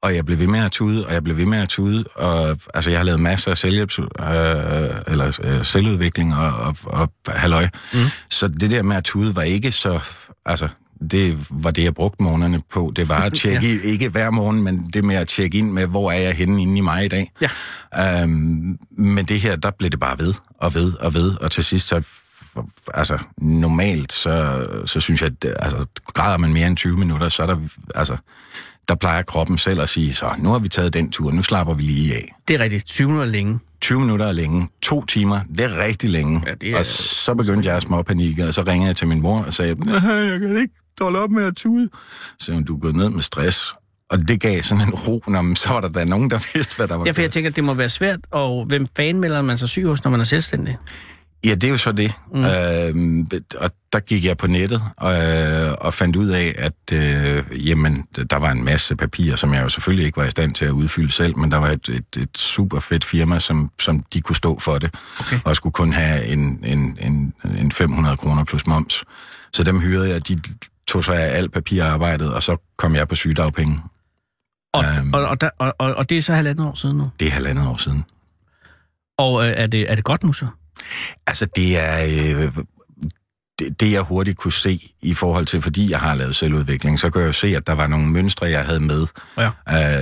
G: Og jeg blev ved med at tude, og jeg blev ved med at tude. Og, altså, jeg har lavet masser af selvhjælps, øh, eller, øh, selvudvikling og, og, og halløj. Mm. Så det der med at tude var ikke så... Altså, det var det, jeg brugte morgenerne på. Det [LAUGHS] var at tjekke, ja. ikke hver morgen, men det med at tjekke ind med, hvor er jeg henne inde i mig i dag.
E: Ja.
G: Øhm, men det her, der blev det bare ved og ved og ved, og til sidst så altså normalt, så, så synes jeg, at det- altså, græder man mere end 20 minutter, så er der, altså, der plejer kroppen selv at sige, så nu har vi taget den tur, nu slapper vi lige af.
E: Det er rigtigt. 20 minutter længe.
G: 20 minutter er længe, to timer, det er rigtig længe.
E: Ja, det er-
G: Og så begyndte jeg at småpanikke, og så ringede jeg til min mor og sagde, "Nej, jeg kan ikke holde op med at tude. Så sagde hun, du er gået ned med stress. Og det gav sådan en ro, når men så var der da nogen, der vidste, hvad der var
E: Okay. Derfor jeg
G: galt.
E: tænker, at det må være svært, og hvem fanden melder man sig syg hos, når man er selvstændig?
G: Ja, det er jo så det. Mm. Øh, og der gik jeg på nettet og, og fandt ud af, at øh, jamen, der var en masse papirer, som jeg jo selvfølgelig ikke var i stand til at udfylde selv, men der var et, et, et super fedt firma, som, som de kunne stå for det, okay. og skulle kun have en, en, en, en 500 kroner plus moms. Så dem hyrede jeg, de tog sig af alt papirarbejdet, og så kom jeg på sygedagpenge.
E: Og,
G: Øhm.
E: og, og, der, og, og, og det er så halvandet år siden nu.
G: Det er halvandet år siden.
E: Og øh, er, det, er det godt nu så?
G: Altså, det er... Øh, det, det, jeg hurtigt kunne se i forhold til, fordi jeg har lavet selvudvikling, så kan jeg jo se, at der var nogle mønstre, jeg havde med,
E: Ja.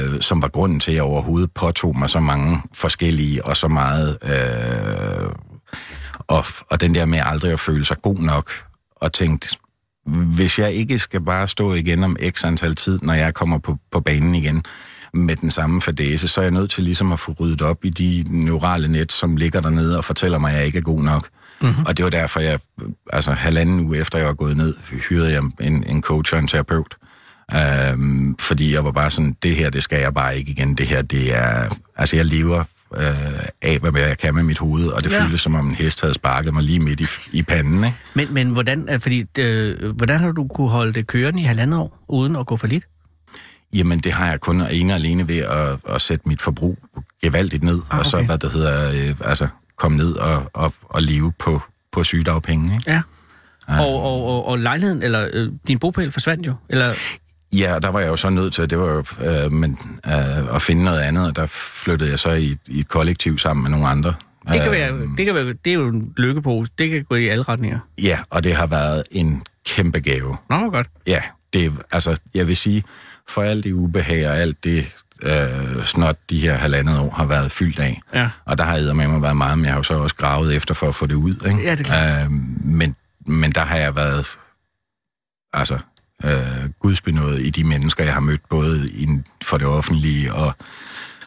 G: øh, som var grunden til, at jeg overhovedet påtog mig så mange forskellige og så meget... Øh, og, og den der med aldrig at føle sig god nok, og tænkte, hvis jeg ikke skal bare stå igen om x antal tid, når jeg kommer på, på banen igen med den samme fadese, så er jeg nødt til ligesom at få ryddet op i de neurale net, som ligger dernede og fortæller mig, at jeg ikke er god nok. Mm-hmm. Og det var derfor, jeg, altså halvanden uge efter jeg var gået ned, hyrede jeg en, en coach og en terapeut. Øhm, fordi jeg var bare sådan, det her, det skal jeg bare ikke igen. Det her, det er... Altså, jeg lever øh, af, hvad jeg kan med mit hoved, og det
E: Ja.
G: ja. føltes, som om en hest havde sparket mig lige midt i, i panden, ikke?
E: Men, men hvordan, øh, fordi, øh, hvordan har du kunne holde det kørende i halvandet år, uden at gå for lidt?
G: Jamen, det har jeg kun og ene og alene ved at, at sætte mit forbrug gevaldigt
E: Ah,
G: ned, ah, okay. og så,
E: okay.
G: hvad det hedder, øh, altså, komme ned og, og, og leve på, på sygedagpenge, ikke?
E: Ja. Og, og, og, og lejligheden, eller øh, din bopæl forsvandt jo. Eller,
G: Ja, og der var jeg jo så nødt til, det var jo, øh, men, øh, at finde noget andet, og der flyttede jeg så i, i et kollektiv sammen med nogle andre.
E: det, kan være, det, kan være, det er jo en lykkepose. Det kan gå i alle retninger.
G: Øh, Ja, og det har været en kæmpe gave.
E: Nå, hvor godt.
G: Ja, det, er- altså, jeg vil sige, for alt det ubehag og alt det øh, snot, de her halvandet år har været fyldt af.
E: Ja.
G: Og der har jeg med mig været meget, men jeg har jo så også gravet efter for at få det ud. Ikke?
E: Ja, det er klart.
G: Øh, men, men der har jeg været altså, øh, gudsbenået i de mennesker, jeg har mødt, både inden for det offentlige og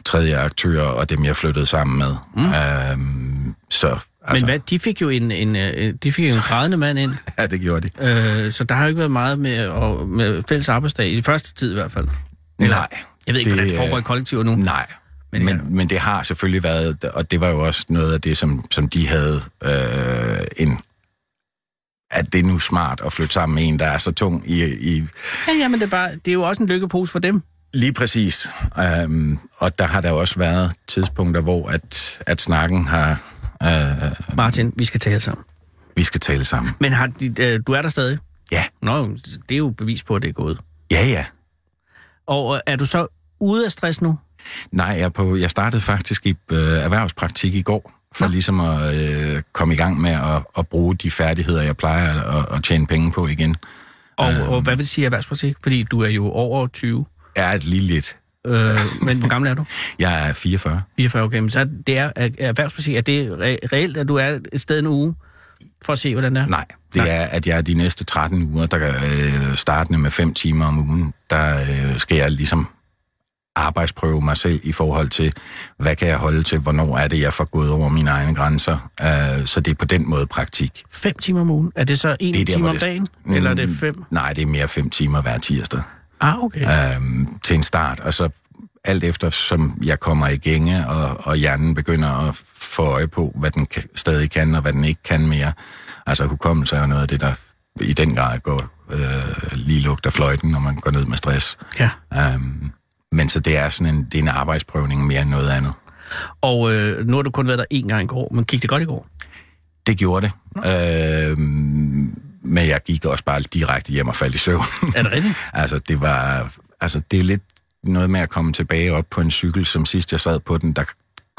G: tredje aktører og dem, jeg flyttede sammen med. Mm. Øh, så,
E: Men
G: altså,
E: hvad, de fik jo en, en, øh, de fik jo en grædende mand ind,
G: [LAUGHS] Ja, det gjorde de.
E: øh, så der har jo ikke været meget med, og, med fælles arbejdsdag, i den første tid i hvert fald. Eller-
G: Nej.
E: Jeg ved ikke,
G: Det,
E: hvordan det
G: øh,
E: foregår i kollektiver nu.
G: Nej, men,
E: ja.
G: men, men det har selvfølgelig været, og det var jo også noget af det, som, som de havde øh, en at det er nu smart at flytte sammen med en, der er så tung i, i
E: Ja, ja, men det er, bare, det er jo også en lykkepose for dem.
G: lige præcis. Øhm, og der har der jo også været tidspunkter, hvor at, at snakken har, øh,
E: Martin, vi skal tale sammen.
G: vi skal tale sammen.
E: Men har de, øh, du er der stadig?
G: Ja,
E: Nå, det er jo bevis på, at det er gået.
G: ja, ja.
E: Og øh, er du så ude af stress nu?
G: Nej, jeg, er på, jeg startede faktisk i øh, erhvervspraktik i går, for Nå. ligesom at øh, komme i gang med at, at bruge de færdigheder, jeg plejer at, at tjene penge på igen.
E: Og, øh. og hvad vil det sige erhvervspolitik? Fordi du er jo over 20.
G: er et lille lidt.
E: Øh, men hvor gammel er [LAUGHS] du?
G: Jeg er 44.
E: 44 okay. Men så er det er, er erhvervspolitik, er det re- reelt, at du er et sted en uge for at se, hvordan det er?
G: Nej, det Nej. er, at jeg de næste 13 uger, der øh, startende med 5 timer om ugen, der øh, skal jeg ligesom arbejdsprøve mig selv i forhold til, hvad kan jeg holde til, hvornår er det, jeg får gået over mine egne grænser. Øh, så det er på den måde praktik.
E: 5 timer om ugen? Er det så en
G: Det er
E: det
G: der,
E: time
G: hvor
E: om
G: det-
E: dagen? Mm. Eller er det fem?
G: Nej, det er mere 5 timer hver tirsdag.
E: Ah, okay. Ja.
G: øhm, til en start, og så alt efter, som jeg kommer i gænge, og, og hjernen begynder at få øje på, hvad den kan, stadig kan, og hvad den ikke kan mere. Altså hukommelse er jo noget af det, der i den grad går øh, lige lugter fløjten, når man går ned med stress.
E: ja.
G: Øhm, men så det er sådan en, det er en arbejdsprøvning mere end noget andet.
E: Og øh, nu har du kun været der én gang i går, men gik det godt i [LAUGHS] går?
G: Det gjorde det. Øhm, men jeg gik også bare direkte hjem og faldt i søvn.
E: Er det rigtigt?
G: Altså, det var... Altså, det er lidt noget med at komme tilbage op på en cykel, som sidst jeg sad på den, der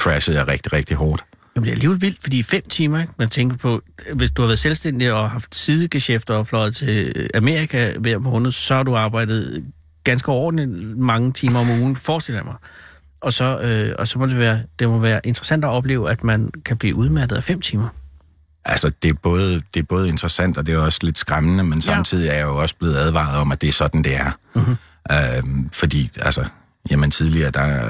G: crashede jeg rigtig, rigtig hårdt.
E: Jamen, det er alligevel vildt, fordi i fem timer, ikke? man tænker på, hvis du har været selvstændig og haft sidegeschæfter og fløjet til øh, Amerika hver måned, så har du arbejdet ganske ordentligt mange timer om ugen, forestiller jeg mig. Og så, øh, og så må det være, det må være interessant at opleve, at man kan blive udmattet af fem timer.
G: Altså, det er, både, det er både interessant, og det er også lidt skræmmende, men samtidig er jeg jo også blevet advaret om, at det er sådan, det er. Mm-hmm. Øh, fordi, altså, jamen tidligere, der,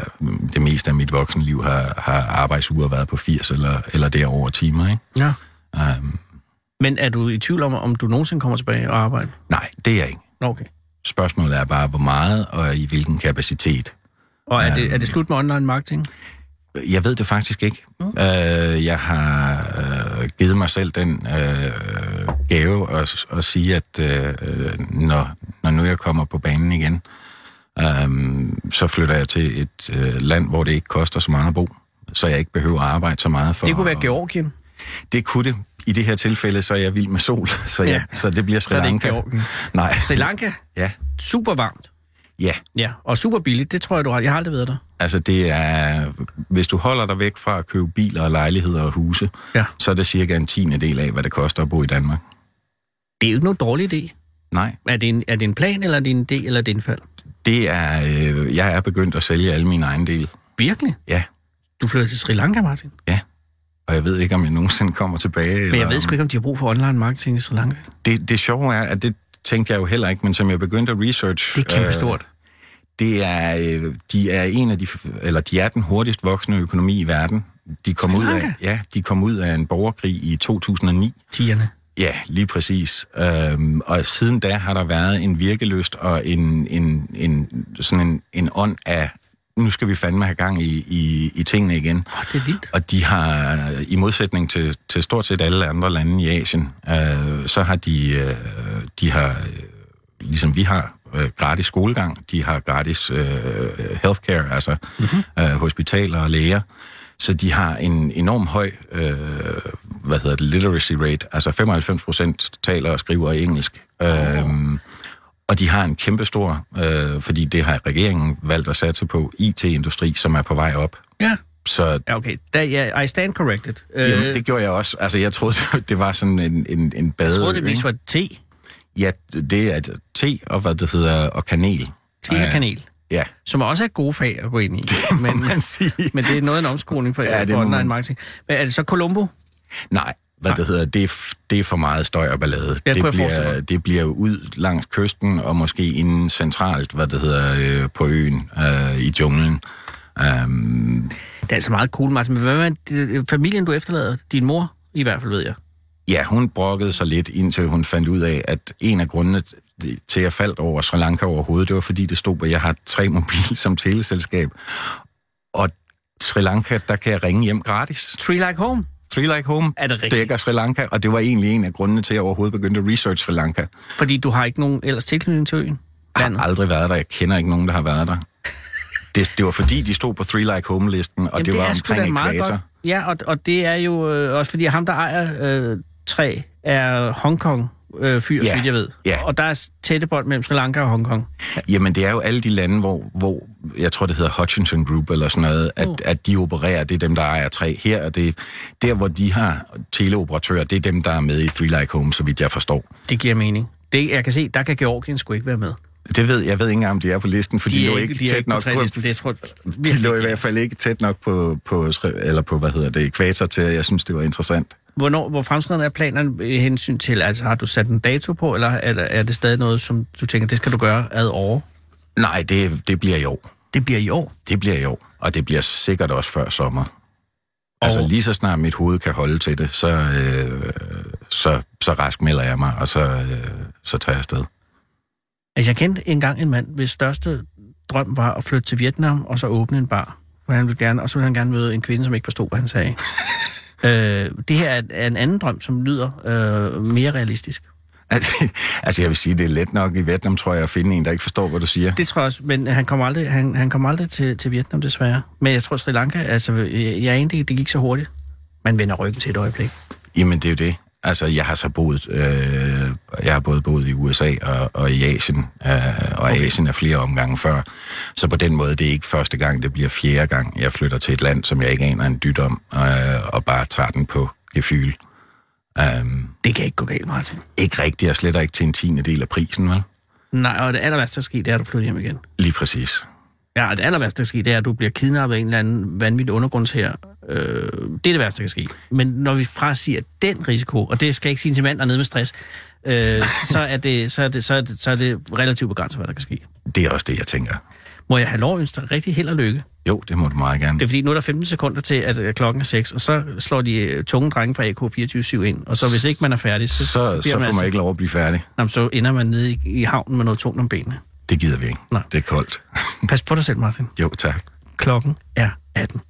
G: det meste af mit voksenliv har, har arbejdsuger været på 80 eller, eller derover timer, ikke?
E: Ja.
G: Øh,
E: Men er du i tvivl om, om du nogensinde kommer tilbage og arbejder?
G: nej, det er jeg ikke.
E: Nå, okay.
G: Spørgsmålet er bare, hvor meget og i hvilken kapacitet.
E: Og er,
G: Um.
E: det, er det slut med online marketing?
G: Jeg ved det faktisk ikke. Mm. Øh, jeg har øh, givet mig selv den øh, gave at, at sige, at øh, når, når nu jeg kommer på banen igen, øh, så flytter jeg til et øh, land, hvor det ikke koster så meget at bo, så jeg ikke behøver at arbejde så meget for
E: Det kunne være
G: at-
E: Georgien.
G: Det kunne det. I det her tilfælde, så er jeg vild med sol, [LAUGHS] så, jeg,
E: Ja.
G: ja. så det bliver Sri
E: Så er det ikke
G: Lanka.
E: Georgien.
G: Nej.
E: Sri Lanka,
G: Ja.
E: super varmt.
G: Ja,
E: Ja, og super billigt, det tror jeg, du har. Jeg har aldrig været der.
G: altså det er... Hvis du holder dig væk fra at købe biler og lejligheder og huse,
E: Ja.
G: så er det cirka en tiende del af, hvad det koster at bo i Danmark.
E: Det er jo ikke nogen dårlig idé.
G: Nej,
E: Er det en, er det en plan, eller er det en idé, eller er det en fald?
G: det er... Øh, jeg er begyndt at sælge alle mine egen del.
E: Virkelig?
G: Ja,
E: Du flytter til Sri Lanka, Martin?
G: og jeg ved ikke, om jeg nogensinde kommer tilbage.
E: Men jeg ved sgu ikke, om de har brug for online marketing i Sri Lanka.
G: Det, det sjove er, at det tænkte jeg jo heller ikke, men som jeg begyndte at research... øh,
E: Det er kæmpe stort.
G: det er, øh, de er en af de, eller de er den hurtigst voksende økonomi i verden. De kom, ud af, ja, de kom ud af en borgerkrig i 2009.
E: Tierne.
G: Ja, lige præcis. Øhm, og siden da har der været en virkeløst og en, en, en, sådan en, en ånd af, nu skal vi fandme have gang i, i, i tingene igen.
E: Åh, det er vildt.
G: Og de har, i modsætning til, til stort set alle andre lande i Asien, øh, så har de, øh, de har, øh, ligesom vi har, øh, gratis skolegang, de har gratis øh, healthcare, altså mm-hmm. øh, hospitaler og læger. Så de har en enorm høj, øh, hvad hedder det, literacy rate, altså 95 procent taler og skriver engelsk. Øhm, og de har en kæmpe stor, øh, fordi det har regeringen valgt at satse på, IT-industri, som er på vej op.
E: Ja.
G: Så
E: Ja, okay. Da, ja, I stand corrected. Øh,
G: Jamen, det gjorde jeg også. Altså, jeg troede, [LAUGHS] det var sådan en, en, en bade.
E: jeg troede, det mest var te.
G: Ja, det er te og hvad det hedder, og kanel.
E: Te og kanel.
G: Ja,
E: Som også er gode fag at gå ind i. Men,
G: kan man sige.
E: [LAUGHS] men det er noget af en omskoling for,
G: Ja,
E: ja,
G: det
E: for
G: må
E: online
G: man.
E: marketing. Men er det så Colombo?
G: Nej, hvad det hedder, det er, f- det er for meget støj og ballade.
E: Ah. Ja, kunne
G: det,
E: jeg forestille
G: bliver,
E: mig.
G: det bliver jo ud langs kysten, og måske inden centralt, hvad det hedder, øh, på øen, øh, i junglen. Um,
E: Det er altså meget cool, Martin. Men hvad med det- familien, du efterlader? Din mor, i hvert fald, ved jeg.
G: Ja, hun brokkede sig lidt, indtil hun fandt ud af, at en af grundene t- til, at jeg faldt over Sri Lanka overhovedet, det var fordi, det stod på, at jeg har tre [LAUGHS] mobil som teleselskab. Og Sri Lanka, der kan jeg ringe hjem gratis.
E: Tree Like Home?
G: Three Like Home
E: Er det rigtigt?
G: dækker Sri Lanka, og det var egentlig en af grundene til, at jeg overhovedet begyndte at research Sri Lanka.
E: Fordi du har ikke nogen ellers tilknytning til øen?
G: Jeg
E: Landet.
G: har aldrig været der. Jeg kender ikke nogen, der har været der. Det, det var fordi, de stod på Three Like Home-listen, og Jamen, det var
E: er sgu da
G: omkring ekvator.
E: Ja, og, og det er jo øh, også fordi ham, der ejer øh, træ, er Hongkong. Øh, fyr,
G: Ja,
E: så vidt jeg ved.
G: ja.
E: Og der er tætte bånd mellem Sri Lanka og Hongkong.
G: Jamen, det er jo alle de lande, hvor, hvor jeg tror, det hedder Hutchinson Group eller sådan noget, at,
E: Mm.
G: mm. at de opererer, det er dem, der ejer tre. Her er det, der hvor de har teleoperatører, det er dem, der er med i Three Like Home, så vidt jeg forstår.
E: Det giver mening. Det, jeg kan se, der kan Georgien sgu ikke være med.
G: Det ved, jeg ved ikke engang, om de er på listen, for de, de
E: er
G: lå ikke
E: er
G: tæt
E: ikke på
G: nok på,
E: trælisten. Det tror
G: de lå i
E: jeg...
G: hvert fald ikke tæt nok på, på, skri- eller på hvad hedder det, ekvator til, at jeg synes, det var interessant.
E: Hvornår, hvor fremskreden er planerne i hensyn til, altså har du sat en dato på, eller er, er det stadig noget, som du tænker, det skal du gøre ad år?
G: Nej, det, det bliver i år.
E: Det bliver i år.
G: Det bliver i år, og det bliver sikkert også før sommer.
E: Og-
G: Altså lige så snart mit hoved kan holde til det, så, øh, så, så rask melder jeg mig, og så, øh, så tager jeg afsted. [LAUGHS]
E: Altså, jeg kendte engang en mand, hvis største drøm var at flytte til Vietnam og så åbne en bar. For han ville gerne, og så ville han gerne møde en kvinde, som ikke forstod, hvad han [LAUGHS] sagde. øh, det her er, er en anden drøm, som lyder øh, mere realistisk.
G: altså jeg vil sige, det er let nok i Vietnam, tror jeg, at finde en, der ikke forstår, hvad du siger.
E: Det tror jeg også, men han kom aldrig, han, han kom aldrig til, til Vietnam, desværre. Men jeg tror, Sri Lanka, altså, jeg, jeg anede ikke, det gik så hurtigt. Man vender ryggen til et øjeblik.
G: Jamen det er jo det. Altså jeg har så boet, øh, jeg har både boet i USA og, og i Asien, øh, og okay. Asien er flere omgange før. Så på den måde, det er ikke første gang, det bliver fjerde gang, jeg flytter til et land, som jeg ikke aner en dyt om, øh, og bare tager den på gefyl. Um,
E: Det kan ikke gå galt, Martin.
G: Ikke rigtigt, og slet ikke til en tiende del af prisen, vel?
E: Nej, og det aller værste, der sker, det er, at du flytter hjem igen.
G: Lige præcis.
E: Ja, og det aller værste, der kan ske, det er, at du bliver kidnappet af en eller anden vanvittig undergrunds her. Øh, det er det værste, der kan ske. Men når vi frasiger den risiko, og det skal jeg ikke sige til mand, der er nede med stress, øh, så, er det, så, er det, så, er det, så er det relativt begrænset, hvad der kan ske.
G: Det er også det, jeg tænker.
E: Må jeg have lov at ønske dig rigtig held og lykke?
G: Jo, det må du meget gerne.
E: Det er fordi, nu er der 15 sekunder til, at øh, klokken er 6, og så slår de øh, tunge drenge fra AK247 ind. Og så hvis ikke man er færdig, så,
G: så, så, så
E: bliver
G: får
E: man,
G: man
E: altså,
G: ikke lov at blive færdig.
E: Nå, men så ender man nede i, i havnen med noget tungt om benene.
G: Det gider vi ikke.
E: Nej.
G: Det er koldt.
E: Pas på dig selv, Martin.
G: Jo, tak.
E: Klokken er 18.